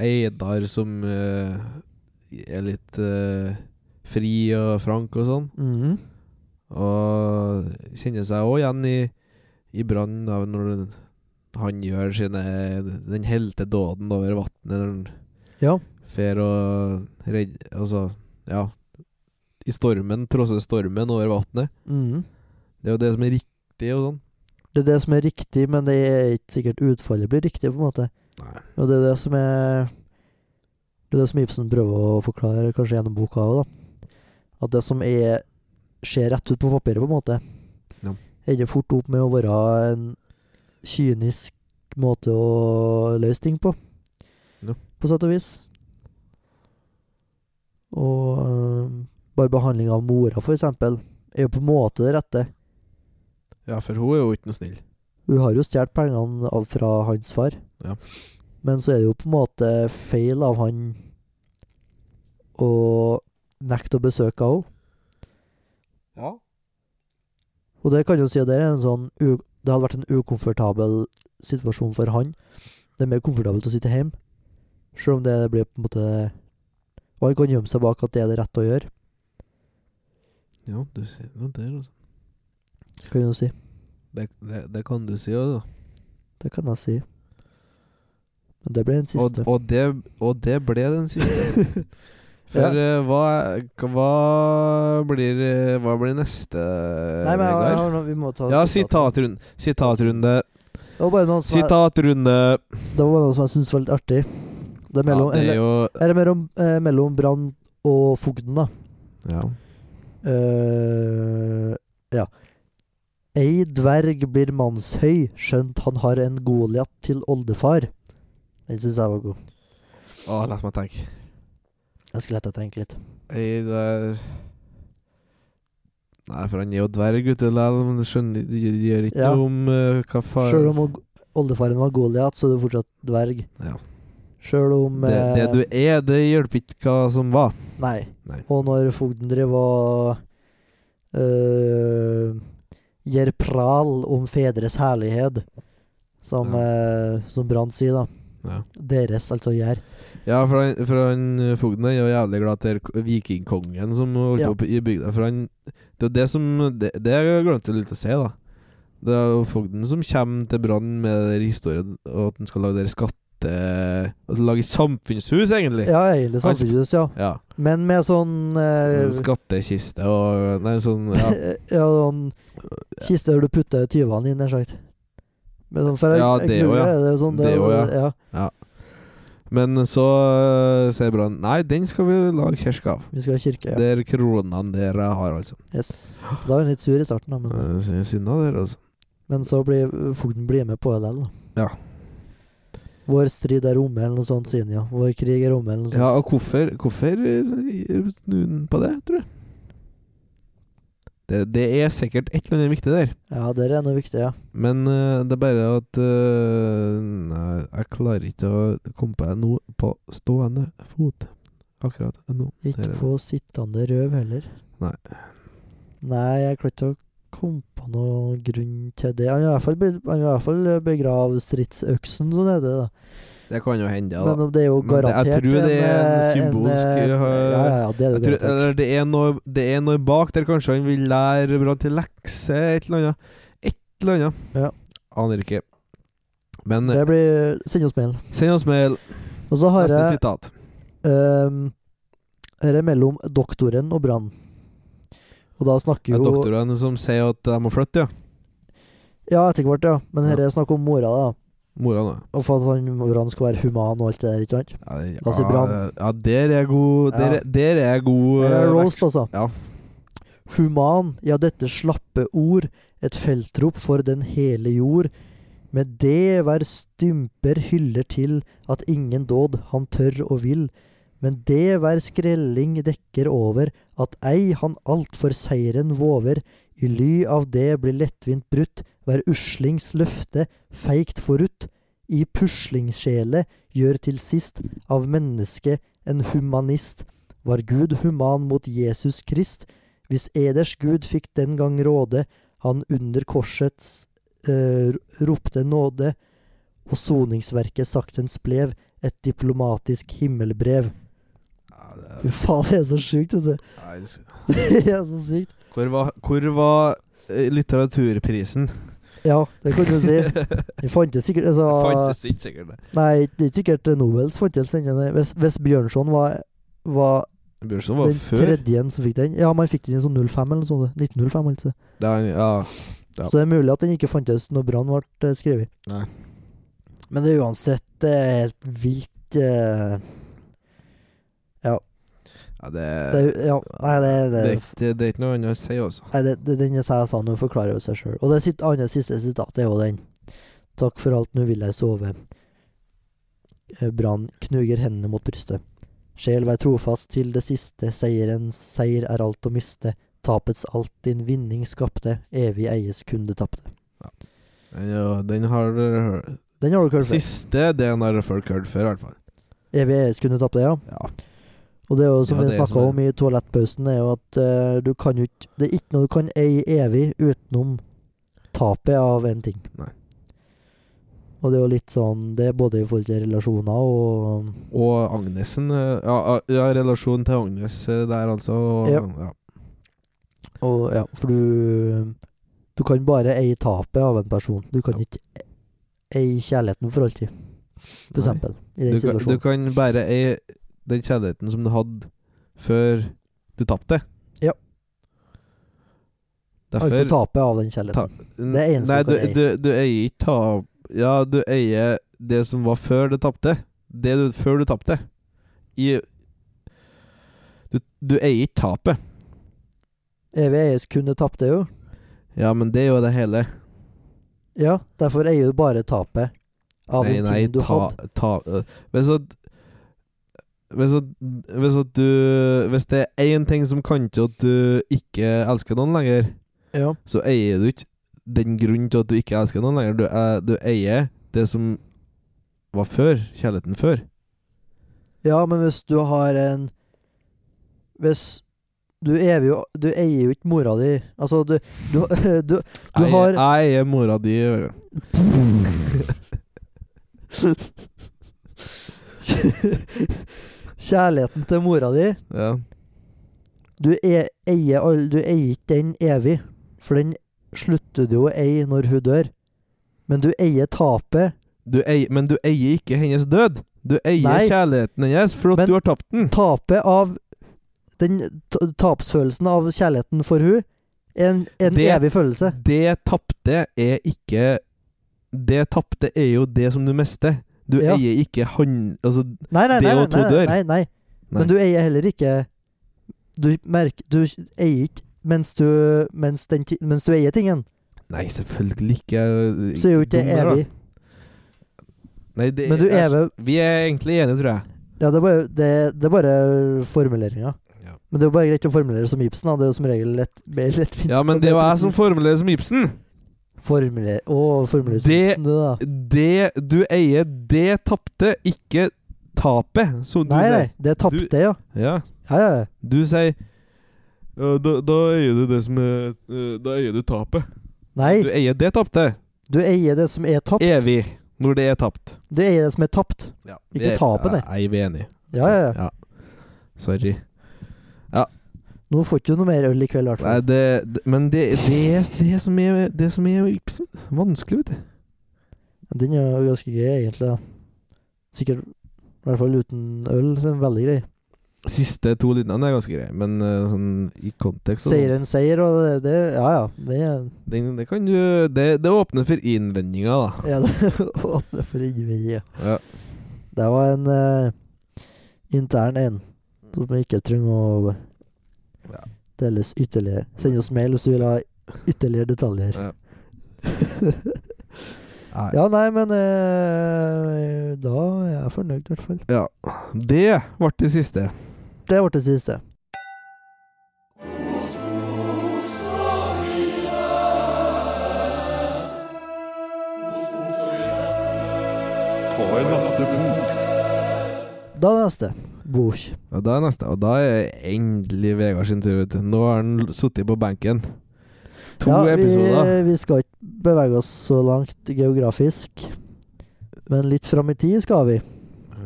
S2: Eidar som eh, er litt eh, fri og frank og sånn.
S3: Mhm.
S2: Og kjenner seg òg igjen i, i brann av når han gjør sine Den heltedåden over vannet når han
S3: Ja.
S2: fer og redder Altså, ja I stormen, trosser stormen over vannet.
S3: Mhm.
S2: Det er jo det som er riktig og sånn.
S3: Det er det som er riktig, men det er ikke sikkert utfallet blir riktig, på en måte.
S2: Nei.
S3: Og det er det som er Det er det som Ibsen prøver å forklare, kanskje gjennom boka òg, da. At det som er ser rett ut på papiret, på en måte,
S2: Ja.
S3: ender fort opp med å være en kynisk måte å løse ting på.
S2: Ja.
S3: På sett og vis. Og øhm, bare behandling av mora, for eksempel, er jo på en måte det rette.
S2: Ja, for hun er jo ikke noe snill.
S3: Hun har jo stjålet pengene av, fra hans far.
S2: Ja.
S3: Men så er det jo på en måte feil av han å nekte å besøke henne.
S2: Ja.
S3: Og det kan jo si at det, er en sånn u det hadde vært en ukomfortabel situasjon for han. Det er mer komfortabelt å sitte hjemme, selv om det blir på en måte Og han kan gjemme seg bak at det er det rette å gjøre,
S2: Ja, du sier noe der, altså.
S3: kan du si.
S2: Det, det, det kan du si, altså.
S3: Det kan jeg si. Men det ble den
S2: Og,
S3: siste.
S2: og, det, og det ble den siste. For eh, hva, hva, blir, eh, hva blir neste,
S3: Nei, men jeg, jeg
S2: Vegard?
S3: har noe, vi må ta
S2: Ja,
S3: sitatet.
S2: sitatrunde. Sitatrunde.
S3: Det var bare noen som jeg-
S2: Sitatrunde.
S3: Det var noe som jeg syntes var litt artig. Det
S2: Ja,
S3: er mellom,
S2: det er
S3: eller,
S2: jo
S3: eller mellom, eh, mellom Brann og Fogden, da.
S2: ja.
S3: Eh, ja. Ei dverg blir mannshøy, skjønt han har en Goliat til oldefar. Den syns jeg var god.
S2: Å, la meg tenke.
S3: Jeg skal lette og tenke litt.
S2: Ei, det er Nei, for han er jo dverg ute likevel, men det skjønner det gjør ikke
S3: Ja.
S2: noe om eh, hva far
S3: Sjøl om og- oldefaren var Goliat, så er du fortsatt dverg.
S2: Ja.
S3: Sjøl om
S2: det, det
S3: eh,
S2: du er, det hjelper ikke hva som var.
S3: Nei.
S2: Nei.
S3: Og når fogden drev og øh, gir pral om fedres herlighet, som, eh, som Brann sier, da.
S2: Ja,
S3: Deres, altså gjær.
S2: ja for, han, for han eh, fogden er jo jævlig glad til k- vikingkongen som holdt
S3: Ja.
S2: opp i bygda. For han Det er jo det som Det, det jeg glemte jeg litt å si, da. Det er jo fogden som kommer til brann med den historien og at han skal lage der skatte... At han lager et samfunnshus, egentlig.
S3: Ja, egentlig
S2: Han-
S3: samfunnshus, ja.
S2: ja.
S3: Men med sånn eh,
S2: Skattekiste og Nei, sånn
S3: ja.
S2: Ja,
S3: sånn kiste der du putter tyvene inn, nær sagt. Men sånn, for jeg,
S2: Ja, det
S3: jeg,
S2: også, ja.
S3: er det sånn,
S2: Det
S3: er-
S2: også,
S3: ja.
S2: men så øh, sier Brann Nei, den skal vi lage kirke av.
S3: Vi skal ha kirke, ja.
S2: Der kronene der jeg har, altså.
S3: Yes. Da er han litt sur i starten, da, men
S2: Eh, sy- Synda der, altså.
S3: Men så blir fogden blir med på LL, da.
S2: Ja.
S3: Vår strid er omme, eller noe sånt, sier han, ja. Vår krig er omme, eller noe
S2: Ja,
S3: sånt.
S2: og hvorfor, hvorfor eh, snur han på det, tror du? Det, det er sikkert et eller annet viktig der,
S3: Ja, der er noe viktig, ja.
S2: men eh, det er bare at eh, Nei, jeg klarer ikke å komme på noe på stående fot akkurat nå. Der
S3: Ikke
S2: er det.
S3: på sittende røv heller.
S2: Nei.
S3: Nei, jeg klarte ikke å komme på noen grunn til det. Han har i hvert fall be- han har i hvert fall begravd stridsøksen, sånn er det, da.
S2: Det kan jo hende, ja, da.
S3: Men om det er jo
S2: Men det- jeg
S3: garantert
S2: tror det er en
S3: eh,
S2: symbolsk,
S3: eh,
S2: eh,
S3: Ja, ja, ja, det er
S2: Jeg
S3: det
S2: tror, eh,
S3: garantert.
S2: eller det er, noe, det er noe bak der kanskje han vil lære Brann til lekse, et eller annet. Et eller annet.
S3: Ja.
S2: Aner ikke. Men eh,
S3: Det blir Send oss mail.
S2: send oss mail.
S3: Og så har
S2: Neste
S3: jeg
S2: sitat.
S3: Um, her er mellom doktoren og Brann. Og da
S2: Det
S3: snakker
S2: er
S3: jo
S2: doktorene som sier at de må flytte, ja.
S3: Ja, etter hvert, ja. Men her
S2: Ja.
S3: er snakk om mora, da.
S2: Mora nå.
S3: Og for at han, Brann skal være human og alt det der, ikke sant?
S2: Ja, det-
S3: Da sier Altså, Brann.
S2: ja, der er jeg god Der,
S3: Ja.
S2: er- der er jeg god
S3: Her er
S2: eh,
S3: roast, altså.
S2: ja.
S3: Human, ja, dette slappe ord, et feltrop for den hele jord. Med det hver stymper hyller til at ingen dåd han tør og vil. Men det hver skrelling dekker over, at ei han alt for seieren våver. I ly av det blir lettvint brutt, hver uslings løfte feigt forrutt. I puslingsjele gjør til sist av mennesket en humanist. Var Gud human mot Jesus Krist? Hvis eders Gud fikk den gang råde, han under korsets eh, ropte nåde, og soningsverket saktens blev et diplomatisk himmelbrev.
S2: Ja, det
S3: Fy faen, det er så sjukt, vet du.
S2: er- nei, det er-
S3: Det er så sykt.
S2: Hvor var, hvor var eh, litteraturprisen?
S3: Ja, det kan du si. Det fantes sikkert altså,
S2: Fantes ikke sikkert det.
S3: Nei, det er ikke sikkert Nobels fantes ennå. nei. Hvis, hvis Bjørnson var, var
S2: Bjørnson var
S3: den
S2: før.
S3: tredje som fikk den Ja, man fikk den i sånn 05 eller noe sånt. 1905, altså.
S2: Det er, ja. Ja.
S3: Så det er mulig at den ikke fantes når Brann ble eh, skrevet.
S2: Nei.
S3: Men det er uansett eh, helt vilt eh,
S2: ja,
S3: det,
S2: det,
S3: er- Ja, nei, det, det,
S2: det, er ikke- det er ikke noe annet å si, altså.
S3: nei, det, det den jeg sa, jeg sa noe forklarer jo seg sjøl. Og det sitt andre siste sitatet er jo den. Takk for alt, nå vil jeg sove. Eh, Brann knuger hendene mot brystet. Sjel, vær trofast til det siste, seierens seier er alt å miste. Tapets alt din vinning skapte, evig eies kunde tapte.
S2: Den, ja, den har dere hørt
S3: Den har du hørt før.
S2: Siste delen har folk hørt før, i hvert fall.
S3: Evig eies kunde tapte, ja.
S2: Ja.
S3: Og det er jo som
S2: Ja,
S3: vi
S2: det er som
S3: snakka
S2: er-
S3: om i toalettpausen, er jo at eh, du kan jo ikke Det er ikke noe du kan eie evig utenom tapet av en ting.
S2: Nei.
S3: Og det er jo litt sånn Det er både i forhold til relasjoner og
S2: Og Agnesen eh, Ja, ja, ja relasjonen til Agnes eh, der, altså. og-
S3: Ja.
S2: Ja.
S3: Og ja, for du Du kan bare eie tapet av en person. Du kan
S2: Ja.
S3: ikke eie kjærligheten for alltid, for
S2: Nei.
S3: eksempel. I den
S2: Du, kan, du
S3: situasjonen.
S2: kan bare eie den kjærligheten som du hadde før du tapte.
S3: Ja.
S2: Derfor
S3: Altså tapet av den kjærligheten. det er eneste
S2: Nei,
S3: du
S2: du,
S3: kan eie.
S2: du, du eier ikke tap... Ja, du eier det som var før du tapte. Det du Før du tapte. I Du, du eier ikke tapet.
S3: Evig eies kunde tapte jo.
S2: Ja, men det er jo det hele.
S3: Ja, derfor eier du bare tapet av den tingen du
S2: ta,
S3: hadde.
S2: ta, øh, men så hvis, at, hvis, at du, hvis det er én ting som kan til at du ikke elsker noen lenger,
S3: Ja.
S2: så eier du ikke den grunnen til at du ikke elsker noen lenger. Du, eh, du eier det som var før. Kjærligheten før.
S3: ja, men hvis du har en Hvis Du eier jo, du eier jo ikke mora di. Altså, du, du, du Du
S2: Jeg-
S3: har-
S2: Jeg eier mora di, øh, Vegard.
S3: Kjærligheten til mora di
S2: Ja.
S3: Du e- eier all- du eier ikke den evig, for den slutter du å eie når hun dør. Men du eier tapet.
S2: Du eier, men du eier ikke hennes død. Du eier
S3: Nei.
S2: kjærligheten hennes for at
S3: Men-
S2: du har tapt den.
S3: Tapet av den ta- tapsfølelsen av kjærligheten for hun er en, en
S2: Det-
S3: evig følelse.
S2: Det tapte er ikke Det tapte er jo det som du mister. Du
S3: Ja.
S2: eier ikke han... Altså,
S3: Nei, nei,
S2: Det
S3: nei,
S2: å
S3: nei,
S2: tro
S3: nei,
S2: dør.
S3: nei, nei.
S2: Nei.
S3: Men du eier heller ikke Du merker Du eier ikke mens du, mens, den, ti- mens du eier tingen,
S2: nei, selvfølgelig ikke. eh,
S3: så er jo ikke det
S2: Dum der, da.
S3: evig.
S2: Nei, det,
S3: Men du
S2: jeg-
S3: ever
S2: Vi er egentlig enige, tror jeg.
S3: Ja, det er bare, det, det er bare formuleringa.
S2: Ja.
S3: Men det er jo bare greit å formulere som Ibsen. Da. Det er jo som regel lett, mer lettvint.
S2: Ja, men
S3: og
S2: det
S3: mer
S2: var jeg som
S3: presist.
S2: formulerer som Ibsen.
S3: Formulere Å, formulere som
S2: Det-
S3: Ibsen, du, da.
S2: Det du eier, det tapte, ikke tapet. som du
S3: Nei, nei.
S2: sier.
S3: Det tapte, ja.
S2: Ja.
S3: Ja, ja. ja.
S2: Du sier «Ja, da, da eier du det som er eh, Da eier du tapet.
S3: Nei,
S2: Du eier det tapte.
S3: du eier det som er tapt.
S2: Evig. Når det er tapt.
S3: Du eier det som er tapt.
S2: Ja,
S3: Ikke tapet, det.
S2: Nei, vi er enige.
S3: Ja, ja, ja.
S2: Sorry.
S3: Nå får ikke du noe mer øl i kveld, i hvert
S2: Nei,
S3: fall.
S2: det, det, men det, det, er- det, som er, det som er vanskelig, vet du
S3: Den er jo ganske grei, egentlig. da. Sikkert I hvert fall uten øl. så er den Veldig grei.
S2: Siste to linjene er ganske greie, men eh, sånn i kontekst og
S3: Seier
S2: sånt.
S3: en seier, og det, det Ja, ja. Det er
S2: Den, det, kan du, det, det åpner for innvendinger, da.
S3: Ja, det åpner for innvendige.
S2: Ja.
S3: Det var en eh, intern en, som vi ikke trenger å
S2: Ja.
S3: deles ytterligere. Send oss mail hvis du vil ha ytterligere detaljer.
S2: Ja. Nei.
S3: Ja, nei, men eh, da er jeg fornøyd, i hvert fall.
S2: Ja. Det ble det siste.
S3: Det ble det siste.
S1: Ta en neste bok.
S3: Da neste. Bok.
S2: Og da er neste. Og da er endelig Vegard sin tur. Vet du. Nå har han sittet på benken. To
S3: Ja,
S2: episoder.
S3: Vi, vi skal ikke bevege oss så langt geografisk, men litt fram i tid skal vi.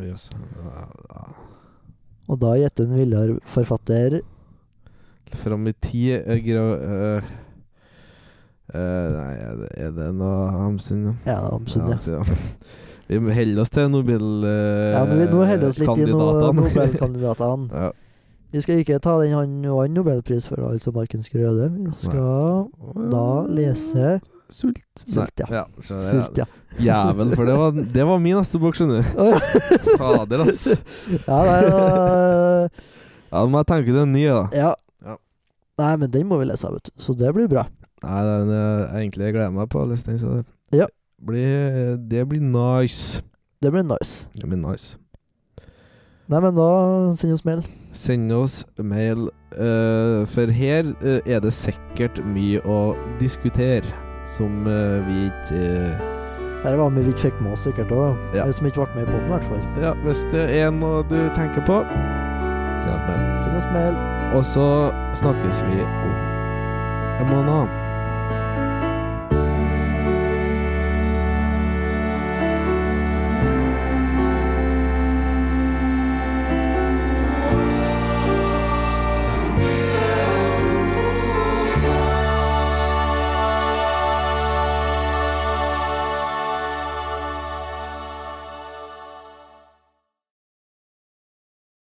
S2: Jøss. Ja, ja.
S3: Og da gjetter en villere forfatter
S2: Fram i tid er gra... øh, øh, nei, er det, er det noe Hamsun, da?
S3: Ja, Amsund, ja.
S2: Ja, Hamsun, ja. Vi holder oss til
S3: Ja, nå, nå holder vi oss
S2: eh,
S3: litt i no
S2: Nobelkandidatene.
S3: Nobelkandidatene.
S2: ja.
S3: Vi skal ikke ta den han vant nobelpris for, altså Markens Grøde. Vi skal da lese
S2: Sult.
S3: Sult, ja.
S2: Nei, ja, skjønner jeg.
S3: Sult, ja.
S2: Jævel, for det var, det var min neste bok, skjønner du.
S3: Å, ja.
S2: Fader, ass.
S3: ja, nei, da-
S2: Ja, da må jeg tenke den nye, da.
S3: ja.
S2: Ja.
S3: Nei, men den må vi lese, vet du. Så det blir bra.
S2: Nei, den eh, egentlig gleder jeg meg på å lese den, så det
S3: Ja.
S2: blir, det blir nice.
S3: Det blir nice.
S2: Det blir nice.
S3: Nei, men da send oss mail.
S2: Send oss mail, eh, for her eh, er det sikkert mye å diskutere som eh, vi ikke eh,
S3: Dette var med vi ikke fikk med oss, sikkert òg.
S2: Ja.
S3: Som ikke ble med i poden, i hvert fall.
S2: Ja, hvis det er noe du tenker på, send oss mail.
S3: Send oss mail.
S2: Og så snakkes vi om en måned.